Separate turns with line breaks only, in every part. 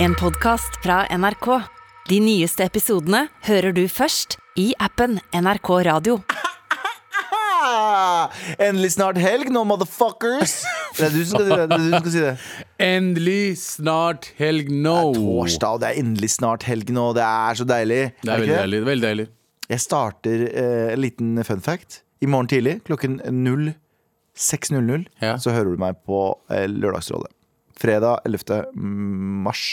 En podcast fra NRK. De nyeste episodene hører du først i appen NRK Radio.
Ah, Endelig snart helg nå, motherfuckers! Det er du som skal si det. det, er du som skal si det.
Endelig snart helg nå.
Torsdag, og det er endelig snart helg nå. Det er så deilig.
Det er
ikke
veldig deilig. Veldig deilig.
Jeg starter eh, en liten fun fact. I morgen tidlig klokken 06.00
Ja.
så hører du meg på eh, Lørdagsrådet. Fredag 11. mars.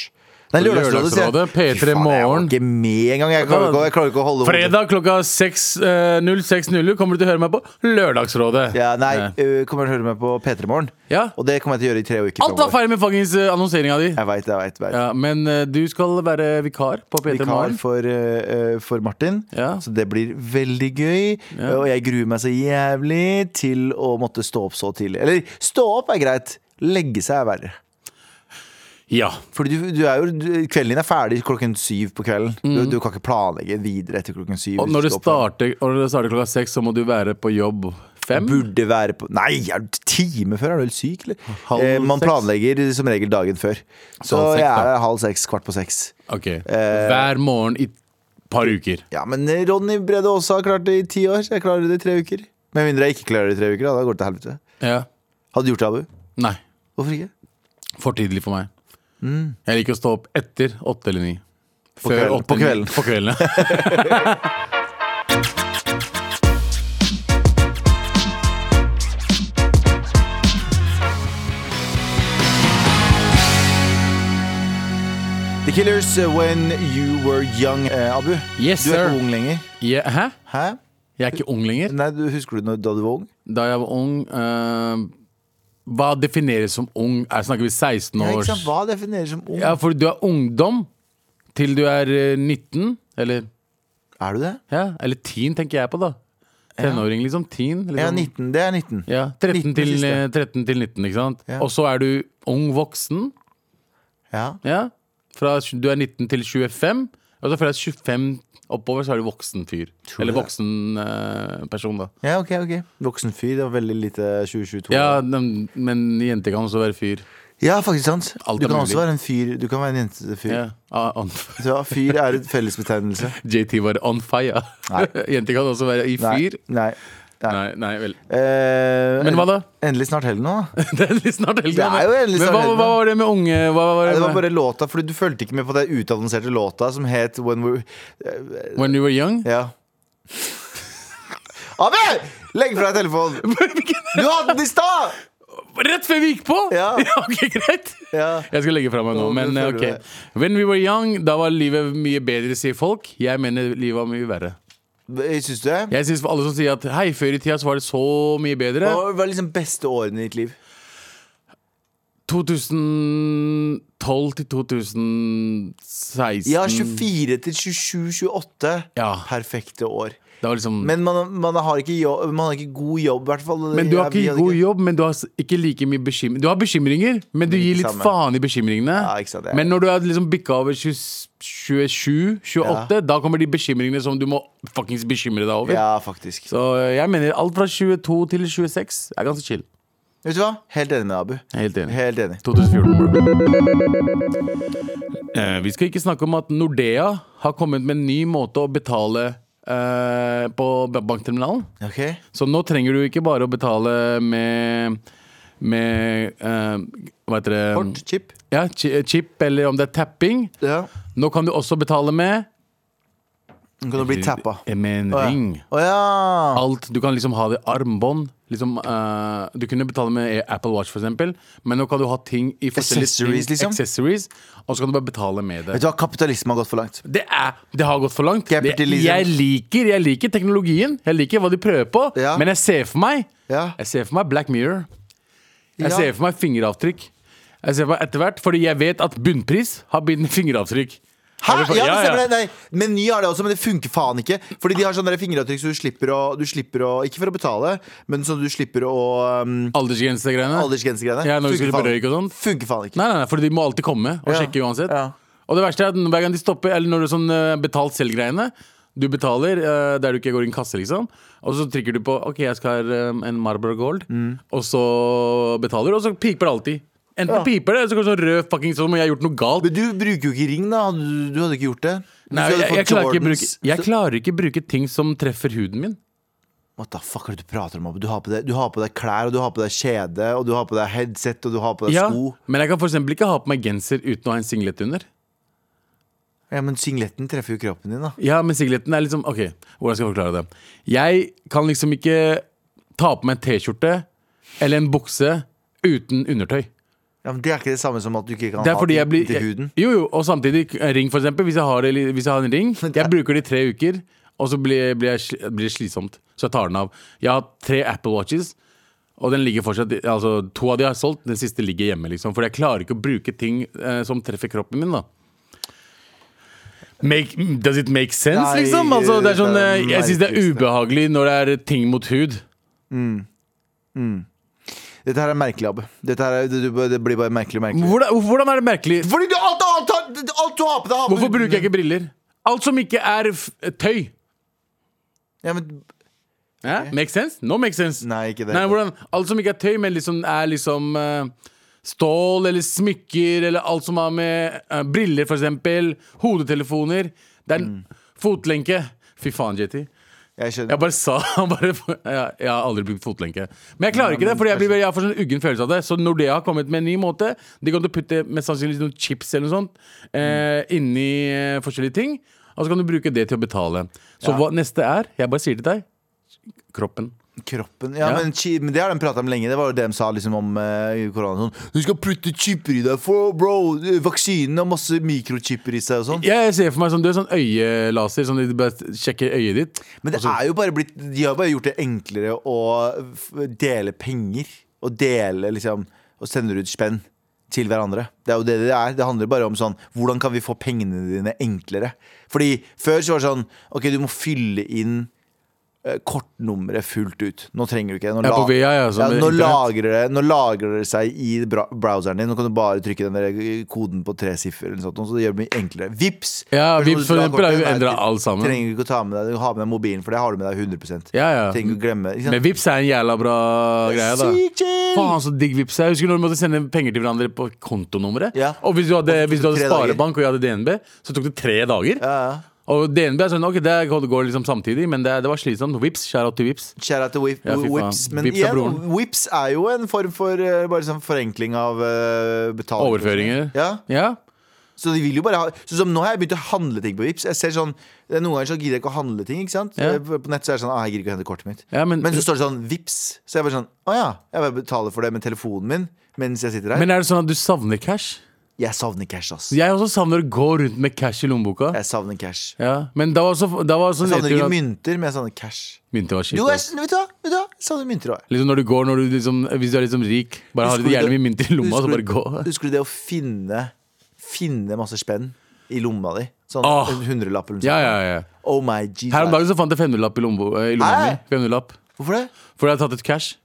Nei,
Lørdagsrådet,
sier jeg.
P3
Fy faen, Jeg var
morgen.
ikke med engang. Jeg klarer ikke, å- jeg klarer ikke å holde hodet.
Fredag klokka eh, 06.00 kommer du til å høre meg på Lørdagsrådet.
Ja, nei, eh, kommer til å høre meg på P3 Morgen.
Ja.
Og det kommer jeg til å gjøre i tre uker
Alt var feil med fuckings eh, annonseringa di.
Jeg veit, jeg veit. jeg vet.
Ja, men eh, du skal være vikar på P3
vikar
Morgen.
for, eh, for Martin.
Ja.
Så det blir veldig gøy.
Ja.
Og jeg gruer meg så jævlig til å måtte stå opp så tidlig. Eller stå opp er greit, legge seg er verre.
Ja.
Fordi du, du er jo, du, Kvelden din er ferdig klokken syv på kvelden. Du, du kan ikke planlegge videre etter klokken syv.
Mm. Og
hvis
når det
står opp.
starter, og når det starter klokka seks, så må du være på jobb fem.
Burde være på Nei, er du time før? Er du helt syk, eller?
Halv
eh, man
seks?
planlegger som regel dagen før. Så
Halv seks,
jeg
da.
er halv seks, kvart på seks.
Ok. Hver morgen i et par uker.
Ja, men Ronny Brede Aase har klart det i ti år. Jeg klarer det i tre uker. Med mindre jeg ikke klarer det i tre uker, da, da går det til helvete.
Ja.
Hadde du gjort det, Abu?
Nei.
Hvorfor ikke?
For tidlig for meg. Jeg liker å stå opp etter åtte eller ni. På
kvelden. Mm. På kvelden.
På kvelden, ja.
The Killers, uh, When You Were Young. Eh, Abu,
Yes,
du er
sir.
ikke ung lenger.
Ja, hæ?
Hæ?
Jeg er ikke ung lenger.
Nei, du, Husker du når, da du var ung?
Da jeg var ung eh, Hva defineres som ung? Er, snakker vi 16
Ja,
års
ikke sant? Hva defineres som ung?
Ja, for du er ungdom til du er eh, 19, eller,
Er du det?
ja, eller teen, tenker jeg på, da. Tenåring, liksom. Teen. Liksom.
Jeg er 19. Det er 19.
Ja, 13,
19
til,
siste.
eh, 13 til 19, ikke sant.
Ja.
Og så er du ung voksen.
Ja.
Ja. Fra tj- du er 19 til 25. Og så fra 25 oppover så er du voksen fyr.
du
Eller
det?
voksen eh, person, da.
ja, ok, ok. Voksen fyr. Det var veldig lite 2022.
Ja, men, men jenter kan også være fyr.
Ja, faktisk sant.
Alt
du
er
kan
mulig.
også være en fyr. Du kan være en jentefyr.
Ja. Ah, on,
Så fyr er et fellesbetegnelse.
JT var on fire.
Nei.
jenter kan også være i
Nei.
fyr.
Nei. nei.
Nei, nei vel.
Eh,
Men hva da?
Endelig snart helg nå. da.
Det er litt snart helg.
Det er
men-
jo endelig
Men
snart
hva,
helg,
hva
da.
var det med unge hva var
Nei,
det
Det var
med?
bare låta, fordi du fulgte ikke med på den utannonserte låta som het When We Eh,
When you were young?
Ja. Abu! Legg fra deg telefonen! Du hadde den i stad!
Rett før vi gikk på!
Ja.
ok, greit.
Ja.
Jeg skal legge fra meg nå,
Nå
men eh,
føler
ok.
du det.
When we were young, da var livet mye bedre, sier folk. Jeg mener livet var mye verre.
Syns Eh, du det?
Jeg synes for alle som sier at hei, før i tida så var det så mye bedre.
Hva var liksom beste årene i ditt liv?
2012 til 2016.
Ja, 24 til 27, 28.
Ja.
Perfekte år.
Det var liksom, men,
Men man, man, har ikke jobb, man har ikke god jobb, i hvert fall.
du
Ja,
har
vi
ikke
hadde
god jobb, men du har s- ikke like mye bekymringer. Du har bekymringer, men du gir
ikke
litt
samme.
faen i bekymringene.
Ja, ikke sant, det er-
Men når du har liksom bikka over 27-28, da kommer de bekymringene som du må fuckings bekymre deg over.
Ja, faktisk.
Så eh, jeg mener alt fra 22 til 26 er ganske chill.
Vet du hva? Helt enig med Abu.
Jeg er Helt enig.
Helt enig.
2014. Eh, vi skal ikke snakke om at Nordea har kommet med en ny måte å betale eh, på ba- bankterminalen.
Ok?
Så nå trenger du ikke bare å betale med med eh, hva heter det?
Kort, chip.
Ja, chi- eh, chip, eller om det er tapping.
Ja.
Nå kan du også betale med
Nå kan du bli tappa.
Med en ring.
Å ja.
Alt, Du kan liksom ha det i armbånd. Liksom, eh, du kunne betale med Apple Watch, for eksempel men nå kan du ha ting i forskjellige
Accessories,
ting,
liksom?
accessories, og så kan du bare betale med
Vet
det.
du hva, kapitalisme har gått for langt.
Det, er, det har gått for langt. Det,
Capitalism.
jeg, liker, jeg liker teknologien, jeg liker hva de prøver på,
Ja.
men jeg ser for meg
Ja.
Jeg ser for meg Black Mirror. Jeg
Ja.
ser for meg fingeravtrykk. Jeg ser for meg etter hvert, Fordi jeg vet at bunnpris har begynt med fingeravtrykk.
Hæ?
Har du fått-
Ja, det
Ja, ja.
stemmer det. Nei, Meny har det også, men det funker faen ikke. Fordi de har sånne der fingeravtrykk, så du slipper å, du slipper å Ikke for å betale, men så du slipper å um,
Aldersgrensegreiene.
Aldersgrensegreiene.
Ja, når du
Funker
skulle på
faen-
røyk og sånn.
Funker faen ikke.
Nei, nei, nei, for de må alltid komme og
Ja.
sjekke uansett.
Ja.
Og det verste er at hver gang de stopper, eller når du sånn eh, betalt selv-greiene Du betaler eh, der du ikke går i en kasse, liksom. Og så trykker du
Mm.
på OK, jeg skal ha eh, en Marlboro Gold, og så betaler du, og så piper det alltid. Enten piper det, eller så går det sånn rød fucking sånn om jeg har gjort noe galt.
Men du bruker jo ikke ring, da. Du, du hadde ikke gjort det. Hvis
Nei,
du hadde
jeg, jeg,
fått
klarer ikke
Jordans,
bruke, jeg
så-
klarer ikke bruke ting som treffer huden min.
What the fuck er det du prater om? Abu? Du har, på deg, du har på deg klær, og du har på deg kjede, og du har på deg headset, og du har på deg
Ja,
sko.
men jeg kan for eksempel ikke ha på meg genser uten å ha en singlet under.
Ja, Men singletten treffer jo kroppen din, da.
Ja, men singleten er liksom Ok, hvordan skal jeg forklare det? Jeg kan liksom ikke ta på meg en T-skjorte eller en bukse uten undertøy.
Ja, men Det er ikke det samme som at du ikke kan
Det er
ha
fordi
ting
jeg blir
til huden.
Jo, jo, og samtidig eh, ring, for eksempel. Hvis jeg har, det, eller hvis jeg har en ring, jeg bruker det i tre uker, og så blir, blir, jeg, sli- blir det slitsomt. Så jeg tar den av. Jeg har tre Apple Watches, og den ligger fortsatt Altså, to av de har jeg solgt, den siste ligger hjemme, liksom. For jeg klarer ikke å bruke ting eh, som treffer kroppen min, da. Make, does it make sense,
Nei,
liksom? Altså, det er sånn,
det
eh,
er det
jeg syns det er
merkeligste.
ubehagelig når det er ting mot hud.
Dette her er merkelig, Abu. Dette her er, det, du- det blir bare merkelig og merkelig.
Hvordan, hvordan er det merkelig?
Fordi du, alt, alt, alt, alt du har på deg, har på
Hvorfor bruker jeg ikke briller? Alt som ikke er f tøy.
ja, men,
Ja, Make sense? No make sense.
Nei, ikke det.
Nei, hvordan, alt som ikke er tøy, men liksom er liksom eh, stål eller smykker eller alt som har med eh, briller, for eksempel. Hodetelefoner. Det er en
Mm.
fotlenke. Fy faen, JT.
Jeg skjønner.
Jeg bare sa han bare, jeg, jeg har aldri brukt fotlenke. Men jeg klarer ikke det, for jeg, blir, jeg får sånn uggen følelse av det. Så Nordea har kommet med en ny måte. De kommer til å putte mest sannsynlig noen chips eller noe sånt eh, inni eh, forskjellige ting. Og så kan du bruke det til å betale. Så
Ja.
hva neste er? Jeg bare sier til deg. Kroppen.
Kroppen Ja,
Ja.
Men, chi- men det har de prata om lenge. Det var jo det de sa liksom om eh, korona. Sånn. Du skal putte chipper i deg, for bro! Vaksinen har masse mikrochipper i seg og sånn.
Jeg ser for meg sånn, du er sånn øyelaser, sånn at de bare sjekker øyet ditt.
Men det
Altså-
er jo bare blitt De har bare gjort det enklere å f- dele penger. Og dele liksom Og sender ut spenn til hverandre. Det er jo det det er. Det handler bare om sånn Hvordan kan vi få pengene dine enklere? Fordi før så var det sånn OK, du må fylle inn eh, kortnummeret fullt ut. Nå trenger du ikke det. Nå,
Ja, på
la-
VIA, ja, som
nå,
internett.
lagrer det, nå lagrer det seg i bra- browseren din. Nå kan du bare trykke den der eh, koden på tre siffer, eller noe sånt, så det gjør det mye enklere. Vips
Ja,
Personen
Vipps for
som har
eksempel har jo
kortet,
endret
nei,
alt sammen.
Trenger ikke å ta med deg, du har med deg mobilen, for det har du med deg 100
Ja, ja.
Trenger ikke å glemme ikke sant?
Men Vipps er en jævla bra greie, da.
Sykt chill!
Faen så digg Vipps er. Jeg husker når vi måtte sende penger til hverandre på kontonummeret.
Ja.
Og hvis du hadde,
Og så tok
hvis du hadde
det tre dager.
sparebank og jeg hadde DNB, så tok det tre dager.
Ja, ja.
Og DNB er sånn, ok, det går liksom samtidig, men det, det var slitsomt. Vips, shout out til Vips.
Kjære til Whip,
Ja, fy faen.
Whips. Men
Whips er
igjen,
broren.
Whips er jo en form for eh, bare sånn forenkling av eh, betaling.
Overføringer.
Ja.
Ja.
Så de vil jo bare ha Så som nå har jeg begynt å handle ting på Vips. Jeg ser sånn, det er Noen ganger så gidder jeg ikke å handle ting. ikke sant?
Ja.
Eh, På nett så er det sånn ah, jeg gidder ikke å hente kortet mitt.
Ja, men-
men, så står det sånn Vips. Så jeg bare sånn Å ja. Jeg bare betaler for det med telefonen min mens jeg sitter her.
Men er det sånn at du savner cash?
jeg savner cash, ass.
Jeg også savner å gå rundt med cash i lommeboka.
Jeg savner cash.
Ja, men da var også, da var også
Jeg savner
nedturen
ikke
at-
mynter, men jeg savner cash.
Mynter var shit.
Jo, jeg,
ass.
vet du hva? Vet du hva? Jeg savner mynter òg.
Liksom når du går, når du liksom, hvis du er liksom rik, bare har litt gjerne mye mynt i lomma, så bare gå.
Husker du det å finne Finne masse spenn i lomma di? Sånn
Åh.
en hundrelapp eller noe
Ja,
sånt.
ja, ja.
Oh my Jesus.
Her om dagen så fant jeg 500-lapp i, lombo, eh, i lomma
Hæ?
mi. 500-lapp.
Hvorfor det?
Fordi jeg hadde tatt ut cash.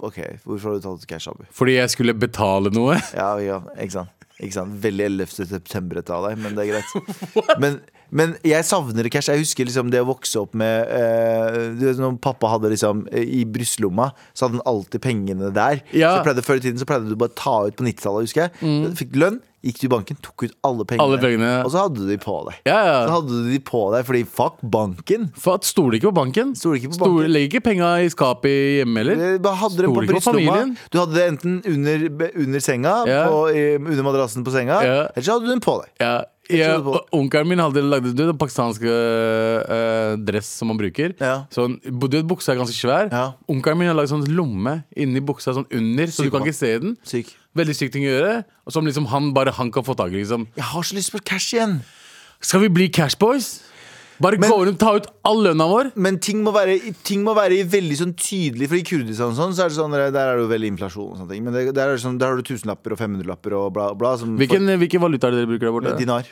Ok, Hvorfor har du tatt cash, Abu?
Fordi jeg skulle betale noe.
Ja, ja, ikke sant, ikke sant? Veldig 11. september-ete av deg, men det er greit. men, men jeg savner cash. Jeg husker liksom det å vokse opp med eh, du vet, Når pappa hadde liksom eh, i brystlomma, så hadde han alltid pengene der.
Ja.
Så
Mm.
pleide Før i tiden så pleide du bare ta ut på 90-tallet, husker jeg. Fikk lønn, gikk du i banken, tok ut alle pengene.
Alle pengene.
Og så hadde du de på deg.
Ja,
Så
ja.
hadde du de på deg fordi fuck banken.
For at stoler ikke på banken.
Stoler ikke på
Stoler-
banken.
legger ikke penga i skapet hjemme heller.
Eh, Bare hadde det på
Stoler ikke på
brystlomma.
familien.
Du hadde det enten under, under senga,
Ja.
på, eh, under madrassen på senga,
Ja.
eller så hadde du den på deg.
Ja, ja,
trodde på det.
og Onkelen min hadde lagd du vet, den pakistanske øh, dress som man bruker.
Ja.
Så han- du vet, Buksa er ganske svær.
Ja.
Onkelen min har lagd sånn lomme inni buksa, sånn under, så du kan
Psykopat.
ikke se den.
Syk.
Veldig sykt ting å gjøre. Og som liksom han bare han kan få tak i. Liksom.
Jeg har så lyst på cash igjen.
Skal vi bli Cashboys? Bare
Men-
gå rundt ta ut all lønna vår?
Men ting må være, ting må være veldig sånn tydelig, for i Kurdistan og sånn, så er det sånn, der er det jo veldig inflasjon og sånne ting. Men det, der, er det sånn, der har du tusenlapper og 500-lapper og bla, bla. Som
Hvilken, hvilken valuta er det dere bruker der borte?
for, dinar.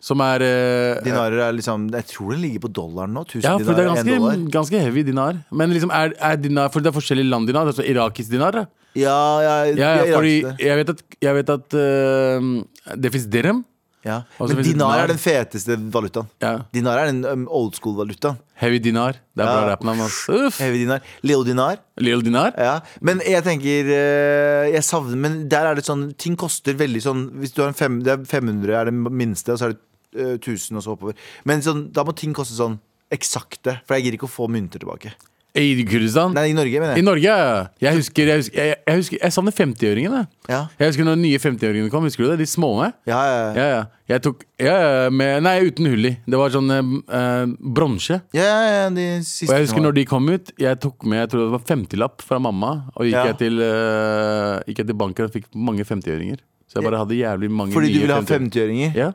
Som er øh,
Dinarer er liksom Jeg tror den ligger på dollaren nå. 1000
Ja, for det er
dinarer, en
ganske,
dollar.
ganske heavy dinar. Men liksom er, er dinar For det er forskjellige land dinar. Altså irakisk dinar. da.
Ja, ja,
Ja,
det
ja,
er
fordi
rart, det.
jeg vet at, jeg vet at øh, eh, det fins dirham,
Ja.
Og så
Men
finnes det
dinar
dinar.
er den feteste valutaen.
Ja.
Dinar er den um, old school-valutaen.
Heavy Dinar. Det er bra
Ja.
rappnavn. ass. Uff.
Heavy dinar. Leo dinar.
Lil Dinar.
Ja. Men jeg tenker eh, Jeg savner Men der er det sånn Ting koster veldig sånn Hvis du har en fem, det er 500 er det minste, og så er det eh, 1000, og så oppover. Men sånn, da må ting koste sånn eksakte, for jeg gidder ikke å få mynter tilbake.
I Kurdistan.
Nei, i Norge, mener
I
jeg.
Norge, ja. Jeg husker Jeg, husker, jeg, jeg, husker, jeg savner 50-åringene.
Ja.
Jeg husker når de nye 50-åringene kom. Husker du det? De små. eh?
Ja, ja, ja.
Ja, ja. Jeg tok ja, ja, med, Nei, uten hull i. Det var sånn eh, eh, bronse.
Ja, ja, ja, de siste
Og jeg husker
nå.
når de kom ut, jeg tok med jeg tror det var 50-lapp fra mamma. Og gikk,
Ja.
jeg til, eh, gikk jeg til banken og fikk mange 50-åringer. Så jeg bare hadde jævlig mange
Fordi du
nye
ville ha
50-åringer.
50-åringer?
Ja.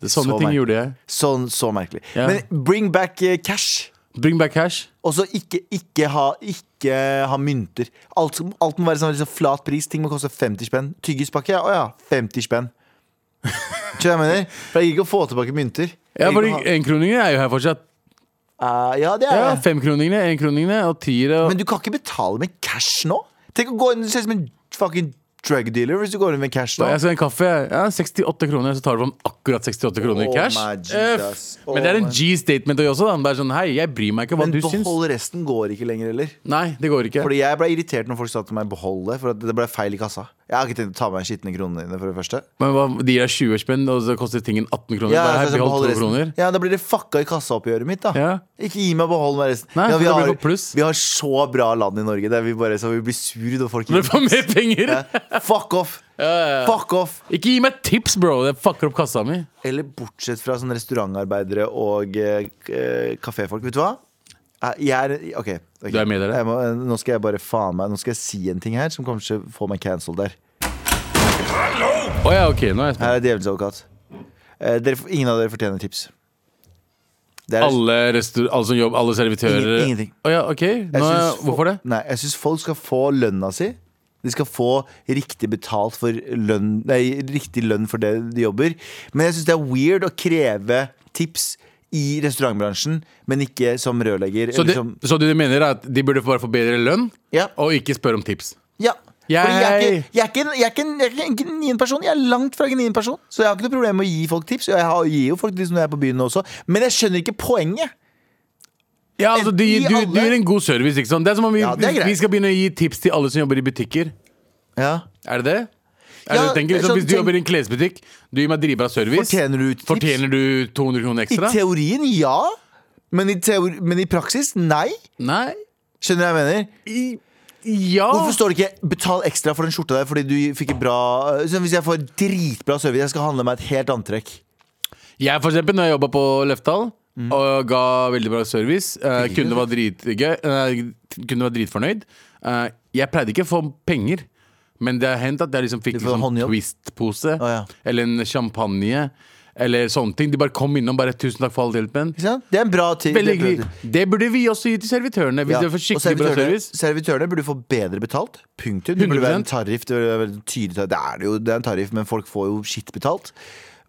Det- Sånne
Så
ting
merkelig.
gjorde jeg.
Sånn, så merkelig.
Ja.
Men bring back eh, cash.
Bring back cash.
Og så ikke, ikke, ha, ikke ha mynter. Alt, som- alt må være sånn liksom, flat pris. Ting må koste 50 spenn. Tyggispakke? ja. Å ja, 50 spenn. Skjønner du hva jeg mener? For jeg gidder ikke å få tilbake mynter.
Ja,
Jeg
for
gidder ikke å
enkroningene er jo her fortsatt.
ha- Eh, ja det er
Ja,
det.
Femkroningene, enkroningene og tiere. Og...
Men du kan ikke betale med cash nå? Tenk å gå inn, Du ser ut som en fucking drug dealer hvis du går inn med cash nå.
Jeg skal ha en kaffe. Ja, 68 kroner, så tar du fram akkurat 68 kroner i
Oh
cash.
my Jesus.
Øff. Men det er en
Oh my-
G-statement også. da Det er sånn, hei, jeg bryr meg ikke hva
Men
du syns.
behold resten går ikke lenger heller.
Nei, det går ikke.
Fordi jeg ble irritert når folk sa til meg behold det, for at det ble feil i kassa. Jeg har ikke tenkt å ta med meg skitne kronene dine, for det første.
Men hva, De gir deg 20 spenn, og så koster tingen 18 kroner.
Ja, så
Bare, hei,
jeg
behold
beholder
2 kroner
resten. ja, da blir det fucka i kassaoppgjøret mitt, da.
Ja.
Ikke gi meg å beholde meg resten.
Nei,
ja,
så
vi,
det blir
har,
på pluss.
vi har så bra land i Norge der vi bare så vi blir sur når folk
Når du får mer penger!
Ja, Fuck off! Fuck off!
Ikke gi meg tips, bro! Det fucker opp kassa mi.
Eller bortsett fra sånne restaurantarbeidere og eh, k- eh, kaféfolk. Vet du hva? Eh, Jeg er OK. ok.
Du er med i dere.
Jeg må, eh, nå skal jeg bare faen meg Nå skal jeg si en ting her som kanskje får meg cancelled der.
Å ja, ok, nå er jeg spent.
Her er djevelens advokat. Eh, dere, ingen av dere fortjener tips. Det er-
Alle, restaur- alle som jobber, alle servitører
Ingen- ingenting.
Å ja, ok.
Jeg
Nå,
syns fo-
hvorfor det?
Nei, jeg syns folk skal få lønna si. De skal få riktig betalt for lønn Nei, riktig lønn for det de jobber. Men jeg syns det er weird å kreve tips i restaurantbransjen, men ikke som rørlegger.
Så,
eller
det,
som,
så du mener at de burde bare få bedre lønn,
liksom- Ja.
og ikke spørre om tips?
ja.
Jeg-
Fordi jeg er ikke- jeg er ikke en- jeg er ikke en- jeg er ikke en genuin person. Jeg er langt fra en genuin person. Så jeg har ikke noe problem med å gi folk tips. Og jeg har- gir jo folk tips når jeg er på byen også. Men jeg skjønner ikke poenget.
Ja, altså, du,
Eh, Gi
du,
alle-
du gir en god service, ikke sant? Det er som om vi,
Ja, det er greit.
vi skal begynne å gi tips til alle som jobber i butikker.
Ja.
Er det det? Er det
Ja,
du tenker, liksom,
sånn
hvis du
tenk-
jobber i en klesbutikk, du gir meg dritbra service,
Fortjener du tips?
fortjener du 200 kroner
I
ekstra?
teorien ja, men i, teori, men i praksis nei.
Nei.
Skjønner du hva jeg mener?
I- Ja.
Hvorfor står det ikke 'betal ekstra for den skjorta der' fordi du fikk et bra Så Hvis jeg får dritbra service, jeg skal handle meg et helt antrekk.
Jeg for eksempel, når jeg jobbet på Løftdal
Mm.
Og ga veldig bra service eh, Kunne være dritgøy eh, Kunne være dritfornøyd Eh, Jeg pleide ikke å få penger Men det har hendt at jeg liksom
Du
fikk
får
liksom,
håndjobb?
twistpose
ja.
Eller en champagne Eller sånne ting De bare kom innom bare tusen takk for all hjelpen
Ikke sant? Det er en bra ting.
Veldig hyggelig Det burde vi også gi til servitørene Hvis
Ja.
de får skikkelig bra service
servitørene burde få bedre betalt. Punktum. Det burde
100%.
være en tariff. Det, burde være en tydelig tariff. det er det jo, det er en tariff, men folk får jo skitt betalt.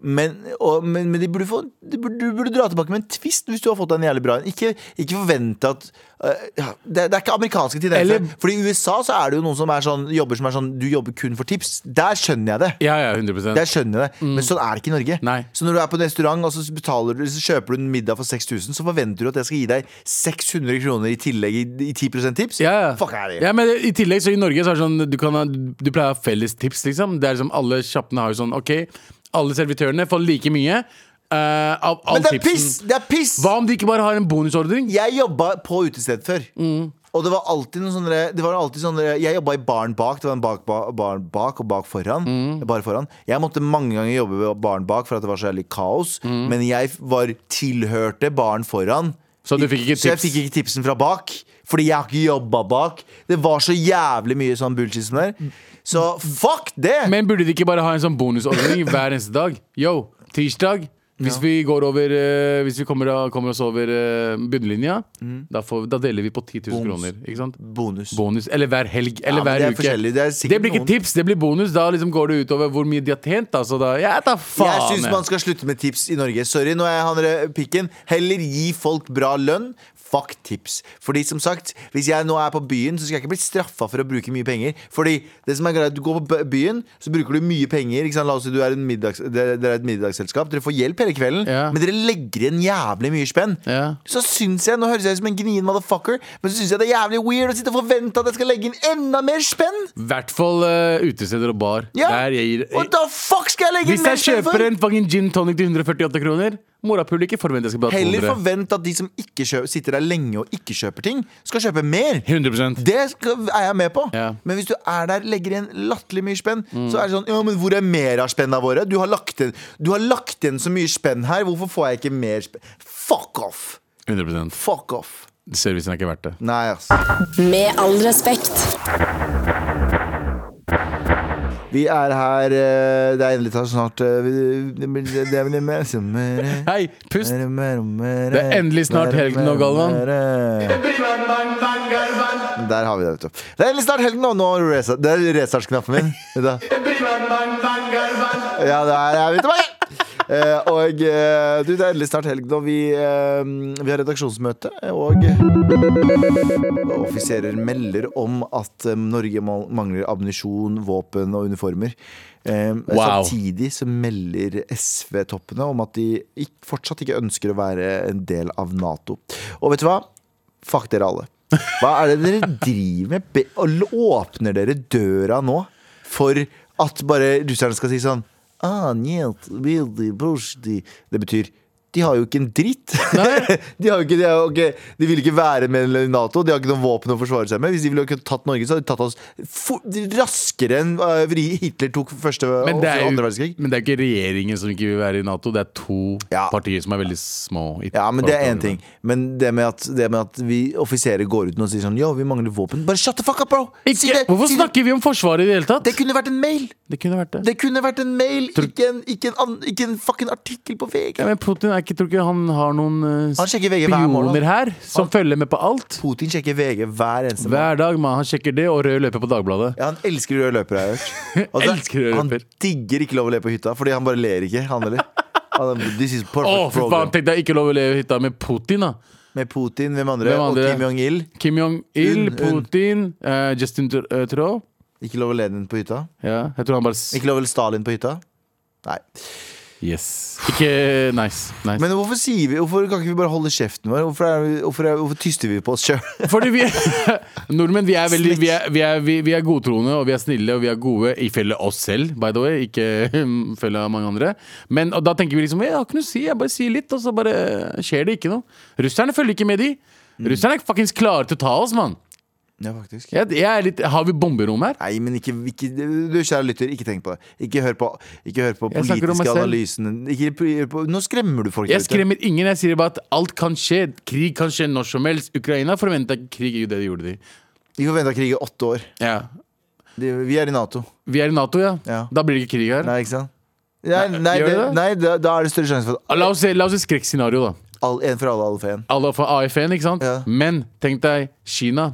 Men, og, men, men de burde få, de burde, du burde dra tilbake med en twist hvis du har fått deg en jævlig bra en. Ikke, ikke forvente at øh, ja, det, det er ikke amerikanske tendenser.
Eller-
Fordi I USA så er det jo noen som er sånn, jobber som er sånn Du jobber kun for tips. Der skjønner jeg det.
Ja, ja, 100%
Der skjønner jeg det, men sånn er det ikke i Norge.
Nei.
Så når du er på en restaurant og så, betaler, du- så kjøper du en middag for 6000, så forventer du at jeg skal gi deg 600 kroner i tillegg i, i 10 tips?
Ja, ja.
Fuck er det?
Ja, men I tillegg så i Norge så er det sånn Du, kan ha, du pleier å ha felles tips, liksom. Det er liksom Alle sjappene har jo sånn OK, alle servitørene får like mye eh, av all
men det er
tipsen.
piss! Det er piss!
Hva om de ikke bare har en bonusordning?
Jeg jobba på utested før.
Mm.
Og det var alltid noen sånne, det var alltid sånne Jeg jobba i baren bak. Det var en bak, ba, baren bak og bak foran.
Mm.
Bare foran. Jeg måtte mange ganger jobbe ved baren bak for at det var så jævlig kaos.
Mm.
Men jeg var tilhørte baren foran.
Så du fikk ikke
Så jeg
tips?
fikk ikke tipsen fra bak. Fordi jeg har ikke jobba bak. Det var så jævlig mye sånn bullshit som der. Så fuck det!
Men burde de ikke bare ha en sånn bonusordning hver eneste dag? Yo, tirsdag Hvis vi går over eh, Hvis vi kommer, kommer oss over eh, bunnlinja, da, får, da deler vi på
Mm.
10 000
Bonus.
kroner. Ikke sant?
Bonus.
Bonus. Eller hver helg. Eller
Ja, men
hver
det er
uke.
forskjellig. Det er sikkert
blir ikke
noen-
tips, det blir bonus. Da liksom går det utover hvor mye de har tjent. Da. Så da, jeg tar faen eh.
Jeg syns
jeg.
man skal slutte med tips i Norge. Sorry, nå er han rød- pikken. Heller gi folk bra lønn. Fuck tips. Fordi som sagt, Hvis jeg nå er på byen, så skal jeg ikke bli straffa for å bruke mye penger. Fordi det som er greit, Du går på b- byen, så bruker du mye penger. Ikke sant? La oss si du er en middags, dere dere er et middagsselskap. Dere får hjelp hele kvelden,
Ja.
men dere legger igjen jævlig mye spenn.
Ja.
Så syns jeg, Nå høres jeg ut som en gnien motherfucker, men så syns jeg det er jævlig weird å sitte og forvente at jeg skal legge inn enda mer spenn!
I hvert fall eh, utesteder og bar.
Ja.
Der jeg gir,
What the fuck skal jeg legge
hvis
inn mer
jeg
spenn for?
kjøper en fucking gin tonic til 148 kroner, morapuler ikke forventer jeg skal betale
Heller
200.
forvent at de som ikke kjøper, sitter der lenge og ikke kjøper ting, skal kjøpe mer.
100
Det skal, er jeg med på.
Ja. Mm.
Men hvis du er der, legger igjen latterlig mye spenn, så er det sånn Ja, men hvor er mer av spennene våre? Du har, lagt inn, du har lagt igjen så mye spenn her, hvorfor får jeg ikke mer spenn? Fuck off!
100
Fuck off.
Servicen er ikke verdt det.
Nei, ass.
Med all respekt.
Vi er her eh, Det er endelig tatt snart eh, vi- Det blir det blir mer sommer eh.
Hei, pust!
Mer, mer, mer,
Det er endelig snart
mer,
helg nå,
mer,
Galvan.
mer. Der har vi det, vet du. Det er endelig snart helg nå. nå resa- det er restartsknappen min. Vet du. Ja, der er vi tilbake! Eh, og eh, du, det er endelig snart helg nå. Vi, eh, vi har redaksjonsmøte, og offiserer melder om at eh, Norge mal- mangler ammunisjon, våpen og uniformer. Eh,
Wow.
Samtidig så melder SV-toppene om at de ikk- fortsatt ikke ønsker å være en del av Nato. Og vet du hva? Fuck dere alle. Hva er det dere driver med? Be og åpner dere døra nå for at bare russerne skal si sånn «Ah, njet, bildi, brusjdi». Det betyr de har jo ikke en dritt. de, har jo ikke, de, har jo ikke, de vil ikke være med i Nato. De har ikke noen våpen å forsvare seg med. Hvis de ville kunne tatt Norge, så hadde de tatt oss for, raskere enn eh, Hitler tok første og
Men det, er
andre
jo,
verdenskrig.
men det er ikke regjeringen som ikke vil være i Nato, det er to
Ja.
partier som er veldig små. i
Ja, men det er én
forhold til
ting. Men det med at, det med at vi offiserer går ut nå og sier sånn Yo, vi mangler våpen. Bare shut the fuck up, bro!
hverandre.
Si det.
Ikke, hvorfor
Si det.
snakker vi om Forsvaret i det hele tatt?
Det kunne vært en mail!
Det kunne vært det.
Det kunne vært en mail,
Tror-
ikke en, ikke en, ann- ikke en fucking artikkel på VG.
Ja, men Putin er ikke, tror ikke han har noen eh,
Han sjekker VG hver morgen.
spioner her som følger med på alt.
Putin sjekker VG hver eneste morgen.
Hver dag, man. Han sjekker det, og rød løper på Dagbladet.
Ja, han elsker røde løpere, har jeg hørt. Og så-
Elsker røde løper.
Han digger ikke lov å le på hytta, fordi han bare ler ikke, han heller. Han er- This is
Å,
perfect
for faen!
program.
Tenk deg ikke lov å leve i hytta med Putin, da.
Med Putin, hvem andre?
Hvem andre?
Og Kim Jong-il.
Kim Jong-il,
Unn, unn.
Putin, eh, Justin Tr- eh, Trudeau.
Ikke lov å le den på hytta.
Ja, jeg tror han bare s-
Ikke lov å le Stalin på hytta. Nei.
Yes. Ikke nice. nice.
Men hvorfor, sier vi, hvorfor kan ikke vi bare holde kjeften vår? Hvorfor, er vi, hvorfor, er, hvorfor tyster vi på oss sjøl?
Fordi vi Nordmenn, vi er veldig vi er, vi, er, vi, vi er godtroende, og vi er snille, og vi er gode ifølge oss selv, by the way. Ikke ifølge mange andre. Men og da tenker vi liksom Jeg har ikke noe å si, jeg bare sier litt, og så bare skjer det ikke noe. Russerne følger ikke med, de.
Mm.
Russerne er faktisk klare til å ta oss, mann.
Ja, faktisk.
Jeg, jeg er litt, har vi bomberom her?
Nei, men ikke, ikke Du kjære lytter, ikke tenk på det. Ikke hør på, ikke hør på
Jeg snakker om
politiske
meg selv.
analysen. Ikke, hør på, nå skremmer du folk. der
Jeg
ute.
skremmer ingen. Jeg sier bare at alt kan skje. Krig kan skje når som helst. Ukraina forventa ikke krig. Jo, det gjorde de.
Vi får vente av krig i åtte år.
Ja.
Det, vi er i Nato.
Vi er i Nato, ja.
Ja.
Da blir det ikke krig her.
Nei, ikke sant? Nei, nei,
gjør
det,
det?
nei da, da er det større sjanse for at
Ah, La oss se, la oss se skrekkscenario, da.
all, en for alle, alle for en.
alle fra AFN, ikke sant?
Ja.
Men tenk deg, Kina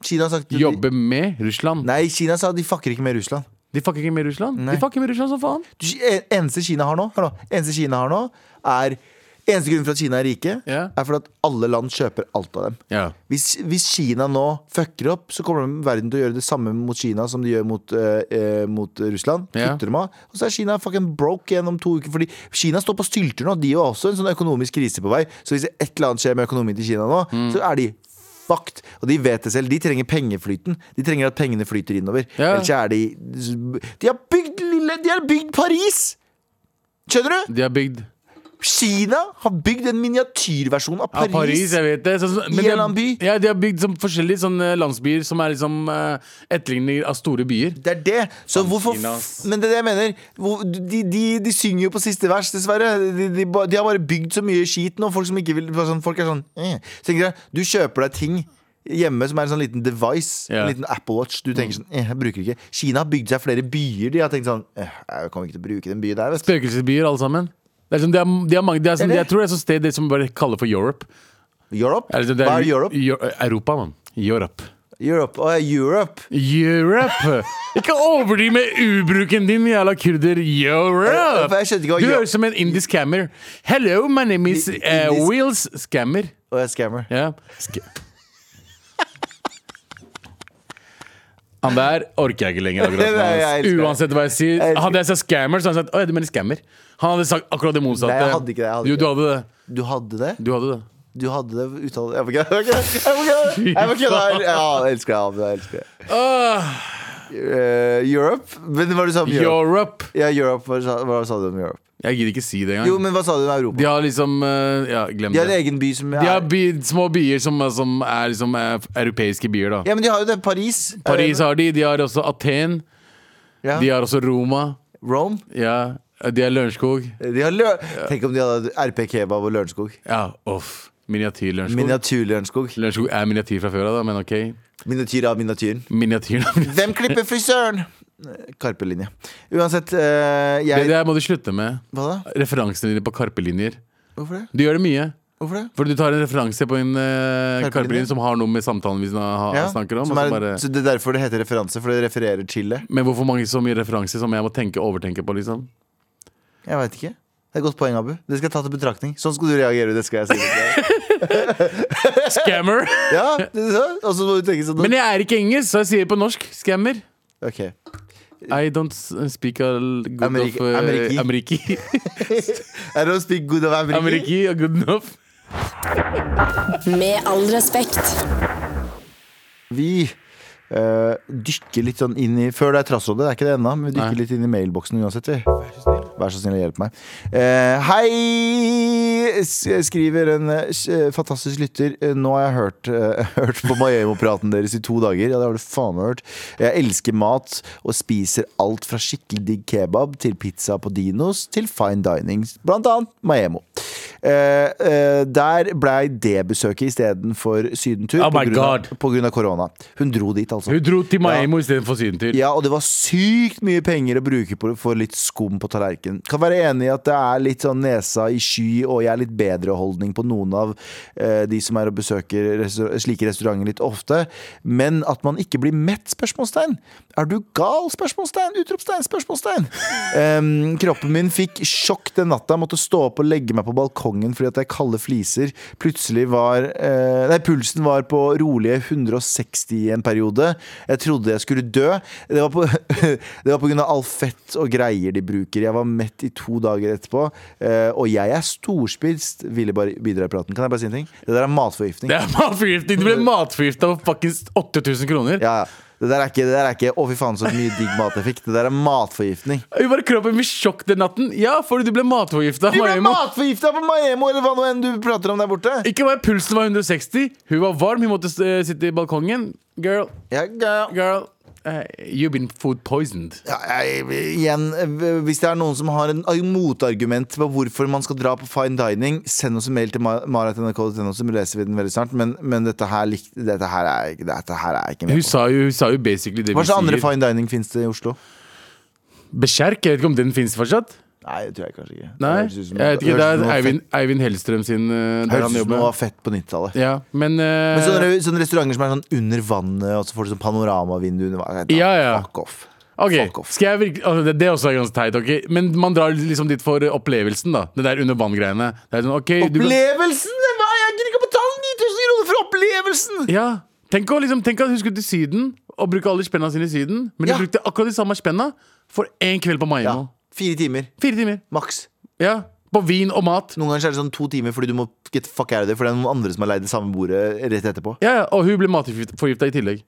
Kina har sagt
jobber med Russland.
Nei, Kina sa de fucker ikke med Russland.
De fucker ikke med Russland.
Nei.
De fucker med Russland som faen.
Du, en- eneste Kina har nå, hør nå Eneste Kina har nå er Eneste grunnen for at Kina er rike,
Ja.
er fordi at alle land kjøper alt av dem.
Ja.
Hvis, hvis Kina nå fucker opp, så kommer verden til å gjøre det samme mot Kina som de gjør mot, eh, eh, mot Russland.
Ja.
Kutter dem av. Og så er Kina fucking broke igjen om to uker. Fordi Kina står på stylter nå. De er jo også en sånn økonomisk krise på vei. Så hvis et eller annet skjer med økonomien til Kina nå, så er de fucked. Og de vet det selv. De trenger pengeflyten. De trenger at pengene flyter innover.
Ja.
Ellers er de De har bygd lille De har bygd Paris! Skjønner du?
De har bygd
Kina har bygd en miniatyrversjon av
ja,
Paris.
Paris, jeg vet det. Sånn, sånn-
I
de
en
har-
annen by.
Ja, de har bygd sånn, forskjellige sånne landsbyer som er liksom eh, etterligninger av store byer.
Det er det. Så hvorfor
Kina,
f-
ass.
Men det er det jeg mener. Hvor- De, de, de synger jo på siste vers, dessverre. De, de, ba- de har bare bygd så mye skit nå. Folk som ikke vil bare sånn, Folk er sånn eh. Så tenker jeg, Du kjøper deg ting hjemme som er en sånn liten device.
Ja.
En liten Apple Watch. Du tenker sånn eh, Jeg bruker ikke. Kina har bygd seg flere byer. De har tenkt sånn eh, Jeg kommer ikke til å bruke den byen der. Vet. du.
Spøkelsesbyer, alle sammen. Det er sånn, det er, det er mange, det er sånn,
Det er det.
Jeg tror det er sånn sted det som bare kaller for Europe.
Europe?
Er det sånn, det
Hva er Europe?
Eu- Europa, mann. Europe.
Europe. Å, ja, Europe.
Europe! Ikke overdriv med ubruken din, jævla kurder.
Eh, for
Europe!
jeg skjønte ikke hva
Du
Eu-
høres ut som en indisk scammer. Hello, my name is
I-
eh,
indisk-
Wheels Scammer.
Å, jeg er scammer.
Ja. Sk Han der orker jeg ikke lenger. akkurat nå,
Nei, jeg
ass.
elsker det.
Uansett hva jeg sier.
Jeg elsker
Hadde jeg sagt scammer, så hadde han sagt Å, ja, du mener scammer. Han hadde sagt akkurat det motsatte.
Nei, jeg hadde ikke det, jeg hadde
jo,
ikke
du hadde det.
Du hadde det?
Du hadde det.
Du hadde det uttalt Jeg må kødde! Jeg må kødde! Jeg må kødde! Ja, jeg elsker deg. Jeg elsker deg.
Åh,
Eh, Europe? Men hva du sa om Europe?
Europe!
Ja, Europe, hva, sa, hva sa du om Europe?
Jeg gidder ikke si det engang.
Jo, men hva sa du om
De
Europa?
har liksom eh, Ja, glem
De har en
det.
egen by som
De har
er
by, små byer som, som er liksom eh, europeiske byer, da.
Ja, men de har jo det. Paris. Er
Paris
det-
har de. De har også Aten.
ja.
De har også Roma.
Rome.
Ja. De har Lørenskog.
De har lø Tenk om de hadde RP Kebab og Lørenskog.
Ja, uff. Miniatyr Lørenskog.
Miniatyr-Lørenskog.
Lørenskog er miniatyr fra før av, da, men ok.
Miniatyr av miniatyren.
Miniatyr
Hvem klipper frisøren? Eh, Karpe-linje. Uansett, eh,
Det
jeg
der må du slutte med.
Hva da?
Referansene dine på karpelinjer.
Hvorfor det?
Du gjør det mye.
Hvorfor det?
For du tar en referanse på en uh,
Karpelinje.
karpelinje som har noe med samtalen vi sna- ha,
Ja,
snakker om.
som
og
er,
så bare,
Så det er derfor det heter referanse, for det refererer til det?
men hvorfor mange så mye referanser som jeg må tenke overtenke på, liksom?
Jeg veit ikke. Det er et godt poeng, Abu. Det skal jeg ta til betraktning. Sånn skal du reagere. det skal jeg si til deg.
Scammer!
Ja, det- så- Og så må du tenke sånn
Men jeg er ikke engelsk, så jeg sier det på norsk. Scammer.
Ok.
I don't s- uh, speak a good
Amerik-
of eh,
Ameriki.
Ameriki.
I don't speak good of America.
Ameriki er good enough.
Med all respekt.
Vi eh, dykker litt sånn inn i Før det er trassrådet, det er ikke det ennå, men vi dykker
Nei.
litt inn i mailboksen uansett. Vi. Vær så snill og hjelp meg. Eh, hei! s- Skriver en eh, s- eh, fantastisk lytter. Eh, Nå har jeg hørt, eh, hørt på Maemo-praten deres i to dager. Ja, det har du faen meg hørt. Jeg elsker mat og spiser alt fra skikkelig digg kebab til pizza på Dinos til fine dining, blant annet Maemo. Eh, eh, der blei det besøket istedenfor sydentur
Oh my God.
pga. korona. Hun dro dit, altså.
Hun dro til Maemo istedenfor sydentur.
Ja, og det var sykt mye penger å bruke på, for litt skum på tallerkenen. Kan være enig i at det er litt sånn nesa i sky, og jeg er litt bedre holdning på noen av eh, de som er og besøker restaur slike restauranter litt ofte. Men at man ikke blir mett? spørsmålstegn. Er du gal? spørsmålstegn, Utropstegn? spørsmålstegn. Em, kroppen min fikk sjokk den natta. Jeg måtte stå opp og legge meg på balkongen fordi at jeg kalde fliser. Plutselig var eh, Nei, pulsen var på rolige 160 i en periode. Jeg trodde jeg skulle dø. Det var på, det var på grunn av all fett og greier de bruker. Jeg var mett i to dager etterpå. eh, og jeg er storspist, ville bare bidra i praten. Kan jeg bare si en ting? Det der er matforgiftning.
Det er matforgifting! Du ble matforgifta av fuckings 8000 kroner.
Ja, ja. Det der er ikke, det der er ikke Å, fy faen, så mye digg mat jeg fikk. Det der er matforgiftning.
Hun var i kroppen min sjokk den natten. Ja, fordi du ble matforgifta av
Du ble
Maemo.
matforgifta på Maemo, eller hva nå enn du prater om der borte.
Ikke bare pulsen var 160, hun var varm, hun måtte eh, sitte i balkongen. Girl,
Ja, ja.
girl, eh, you've been food poisoned.
Ja, jeg, igjen, eh, hvis det er noen som har en en motargument på hvorfor man skal dra på fine dining, send oss en mail til ma- marat.nrk.no, så leser vi den veldig snart. Men, men dette, her, lik- dette, her er, ikke- dette her er jeg ikke
Hun
med på.
sa jo, hun sa jo basically det
Hva
vi
slags andre
sier.
fine dining fins det i Oslo?
Beskjerk, jeg vet ikke om den finnes fortsatt?
Nei, det tror jeg kanskje ikke.
Nei,
Det høres ut
jeg
som-
vet ikke, det
høres ut
er
som noe
Eivind,
fett-
Eivind Hellstrøm sin eh,
Høres
der han
ut som noe
jobber.
fett på 90-tallet.
Ja, men, eh,
Men sånne, sånne restauranter som er sånn under vannet, og så får du sånn panoramavindu under vannet.
Ja, ja.
Fuck off.
eh, Ok,
Fuck off.
skal jeg virkelig altså, det, det er også ganske teit, ok? Men man drar liksom dit for eh, opplevelsen, da. Det der under vann-greiene. Det er sånn, ok, du kan-
Opplevelsen! Hva? Jeg gidder ikke å betale 9000 kroner for opplevelsen!
Ja, tenk, å, liksom, tenk at hun skulle til Syden og bruke alle spenna sine i Syden, men hun
Ja.
brukte akkurat de samme spenna for én kveld på
Ja,
Maimo.
Fire timer,
Fire timer.
maks.
Ja, På vin og mat.
Noen ganger så er det sånn to timer fordi du må get the fuck out of there, for det er noen andre som har leid det samme bordet rett etterpå.
Ja, ja, Og hun ble matforgifta i tillegg.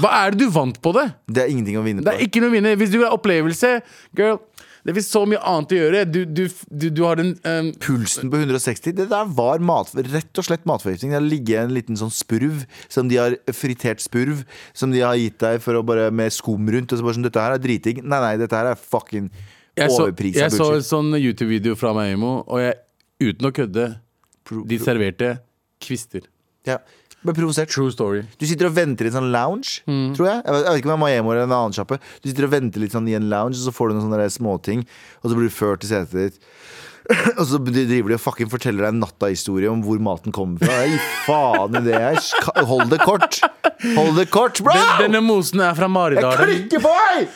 Hva er det du vant på det?
Det er ingenting å vinne på.
Det er ikke noe å vinne. Hvis du vil ha opplevelse, girl Det finnes så mye annet å gjøre. Du, du, du, du har den um,
Pulsen på 160, det der var mat, rett og slett matforgiftning. Det har ligget en liten sånn spurv, som de har fritert spurv, som de har gitt deg for å bare med skum rundt. Og så bare sånn, dette her er driting. Nei, nei, dette her er fucking
Jeg så,
overprisa
jeg så en
bullshit.
sånn YouTube-video fra Maimo, og jeg, uten å kødde,
Pro-
de serverte kvister.
Ja. Ble provosert.
True story.
Du sitter og venter i en sånn lounge,
Mm.
tror jeg. Jeg vet, jeg vet ikke om det er Maemo eller en annen sjappe. Du sitter og venter litt sånn i en lounge, og så får du noen sånne der småting, og så blir du ført til setet ditt. Og så driver de og fucking forteller deg en nattahistorie om hvor maten kommer fra. Gi faen i det her. Sk- Hold det kort. Hold det kort, bro!
Den, denne mosen er fra
Jeg
Maridalen.
klikker på deg!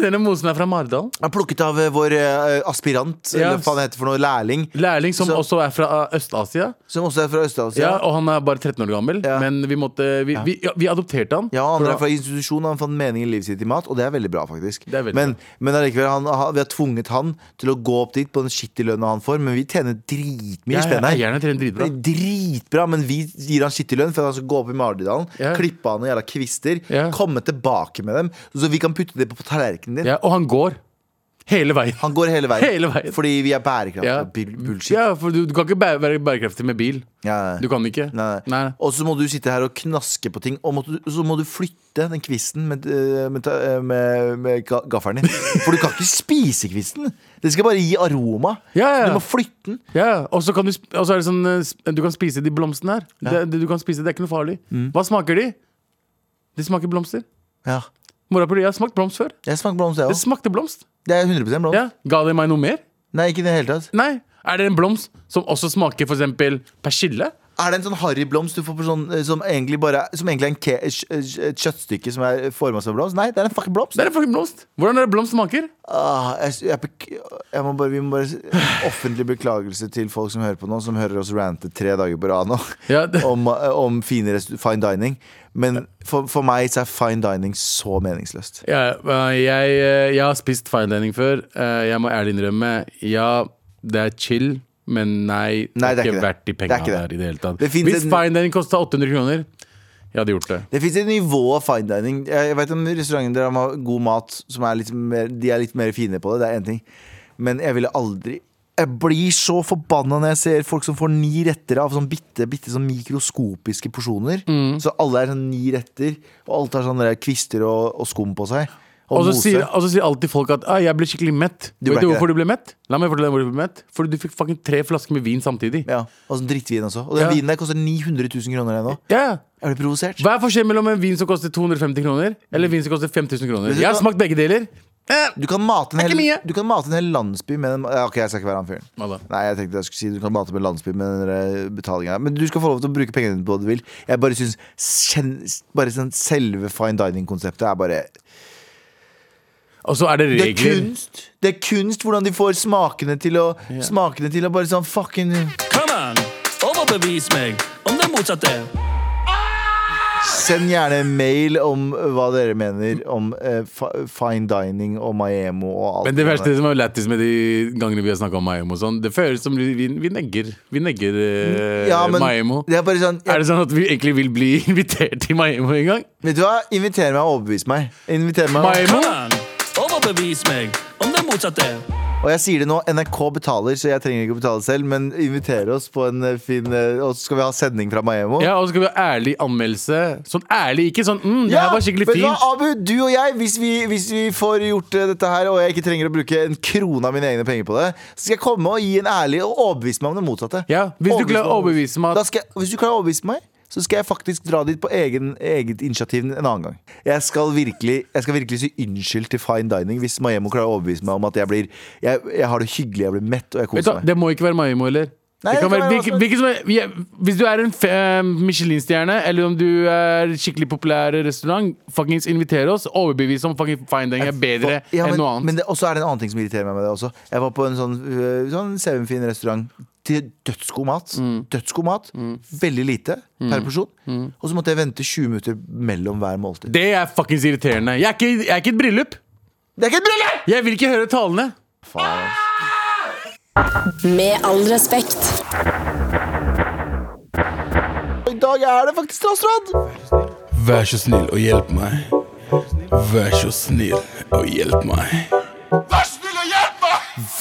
Denne mosen er fra Maridalen.
Han er plukket av eh, vår eh, aspirant, eller
Ja.
hva faen det heter for noe, lærling,
Lærling som
Så-
også er fra uh, Øst-Asia.
som også er fra
Ja,
Øst-Asia.
og han er bare 13 år gammel.
Ja.
Men vi måtte Vi, vi, ja, vi adopterte han.
Ja, han
For
er fra institusjon, han fant mening i livet sitt i mat, og det er veldig bra, faktisk.
Det er veldig
men men allikevel, han, han, vi har tvunget han til å gå opp dit på den skittige lønna han får, men vi tjener dritmye
ja,
spenn
ja,
her.
eierne trener
Det
dritbra.
er dritbra, men vi gir han skittig lønn for at han skal gå opp i Maridalen,
Ja.
klippe av noen jævla kvister,
Ja.
komme tilbake med dem, så vi kan putte det på tallerkenen din.
Ja, og han går. Hele veien.
Han går hele veien,
Hele veien.
fordi vi er bærekraftige
Ja.
og bull- bullshit.
Ja, for du, du kan ikke bæ- være bærekraftig med bil.
Ja.
Du kan ikke.
Nei, nei.
Nei.
Og så må du sitte her og knaske på ting, og må du, så må du flytte den kvisten med, eh, med, ta- med, med ga- gaffelen din. For du kan ikke spise kvisten! Den skal bare gi aroma.
Ja, ja.
Du må flytte den.
Ja, og så kan du, sp- og så er det sånn eh, sp- Du kan spise de blomstene her. Det, det, du kan spise, det er ikke noe farlig. Hva smaker de? De smaker blomster.
Ja.
Mora på de, jeg har smakt blomst før.
Jeg smaker blomst, jeg
Det
òg.
smakte blomst.
Det er 100 blomst.
Ja. Ga det meg noe mer?
Nei, ikke i det hele tatt.
Nei. Er det en blomst som også smaker for eksempel persille?
Er det en sånn harryblomst du får på sånn, eh, som egentlig bare Som egentlig er en ke, eh, et kj- et kjøttstykke som er forma som en blomst? Nei, det er en fucking blomst.
Det er en fucking blomst. Hvordan er det blomst smaker?
Ah, jeg, jeg, bek- jeg må bare, vi må bare s- Offentlig beklagelse til folk som hører på nå, som hører oss rante tre dager på rad nå.
Ja, det-
Om, om fine rest, fine dining. Men for, for meg så er fine dining så meningsløst.
Ja, øh, jeg, øh, jeg har spist fine dining før. Øh, Jeg må ærlig innrømme, ja, det er chill, men nei, det
Nei,
er
det er
ikke
ikke det.
verdt de
Det er
penga
ikke det.
der i det hele tatt.
Det finnes
Hvis
en-
fine dining kosta 800 kroner, jeg hadde gjort det.
Det fins et nivå av fine dining. Jeg, jeg vet om restauranter der de har god mat, som er litt mer, de er litt mer fine på det. Det er én ting. Men jeg ville aldri jeg blir så forbanna når jeg ser folk som får ni retter av sånn bitte, bitte sånn mikroskopiske porsjoner.
Mm.
Så alle er sånn ni retter, og alt har sånne der kvister og, og skum på seg. Og,
Og så
mose.
sier, og så sier alltid folk at ah, 'jeg ble skikkelig mett'.
Du ble
Vet du
ikke
hvorfor
det.
du ble mett? La meg fortelle deg hvor du ble mett. Fordi du fikk fucking tre flasker med vin samtidig.
Ja, og sånn drittvin også. Og den
Ja.
vinen der koster 900 000 kroner ennå.
Ja.
Jeg ble provosert.
Hva er forskjellen mellom en vin som koster 250 kroner, eller en vin som koster 5000 kroner?
Hvis du
Jeg har
skal-
smakt begge deler. Eh,
Du kan, mate en
Det er
hel,
ikke mye.
du kan mate en hel landsby med den ja, Ok, jeg skal ikke være han fyren.
Hva da?
Nei, jeg tenkte jeg skulle si du kan mate med en landsby med den betalinga. Men du skal få lov til å bruke pengene dine på hva du vil. Jeg bare syns kjen- bare sånn selve fine dining-konseptet er bare
Og så er det
Det er
regler.
kunst! Det er kunst hvordan de får smakene til å Smakene til å bare sånn fucking
Kom an, overbevis meg om det motsatte.
Send gjerne en mail om eh, hva dere mener om eh, fi- fine dining og Maiemo og alt.
Men det verste som er lættis med de gangene vi har snakka om Maimo og sånn, det føles som vi, vi negger. Vi negger eh,
ja, men
Maimo.
Det er bare sånn
Er det sånn at vi egentlig vil bli invitert til Maimo en gang?
Vet du hva? Inviter meg og overbevis meg. Inviter meg og-
Maimo?
Kom an, overbevis meg om det motsatte.
Og jeg sier det nå, NRK betaler, så jeg trenger ikke å betale selv. Men invitere oss på en eh, fin eh, Og så skal vi ha sending fra Maemo.
Ja, og så skal vi ha ærlig anmeldelse. Sånn ærlig, ikke sånn mm, 'det
Ja,
her var skikkelig
vet du hva,
fint'.
Abu, du og jeg, hvis vi, hvis vi får gjort eh, dette her, og jeg ikke trenger å bruke en krone av mine egne penger på det, så skal jeg komme og gi en ærlig og overbevise meg om det motsatte.
Ja, hvis
Overbevise
du klarer
om
å
det
overbevise meg at-
da skal jeg, Hvis du klarer å overbevise meg, så skal jeg faktisk dra dit på egen, eget initiativ en annen gang. Jeg skal virkelig, jeg skal virkelig si unnskyld til fine dining hvis Maemo klarer å overbevise meg om at jeg, blir, jeg, jeg har det hyggelig, jeg blir mett og jeg
Vet du,
koser
hva,
meg.
det må ikke være Maimo heller.
Nei,
det kan
det kan
være,
være hva
hvilke,
som-
hvilke som er, vi er, hvis du er en fe- eh, Michelin-stjerne, eller om du er skikkelig populær restaurant, fuckings inviter oss. Overbevis om fucking fine dining er bedre
Ja, men,
enn noe annet.
Men det, også er det en annen ting som irriterer meg med det også. Jeg var på en sånn, øh, sånn sevnfin restaurant til dødsgod mat.
Mm.
Dødsgod mat. Veldig lite per porsjon. Og så måtte jeg vente 20 minutter mellom hver måltid.
Det er fuckings irriterende. Jeg er ikke, jeg er ikke et bryllup.
Det er ikke et bryllup!
Jeg vil ikke høre talene.
Faen.
Med all respekt.
I dag er det faktisk trassråd!
Vær så snill og hjelp meg. Vær så snill og hjelp meg.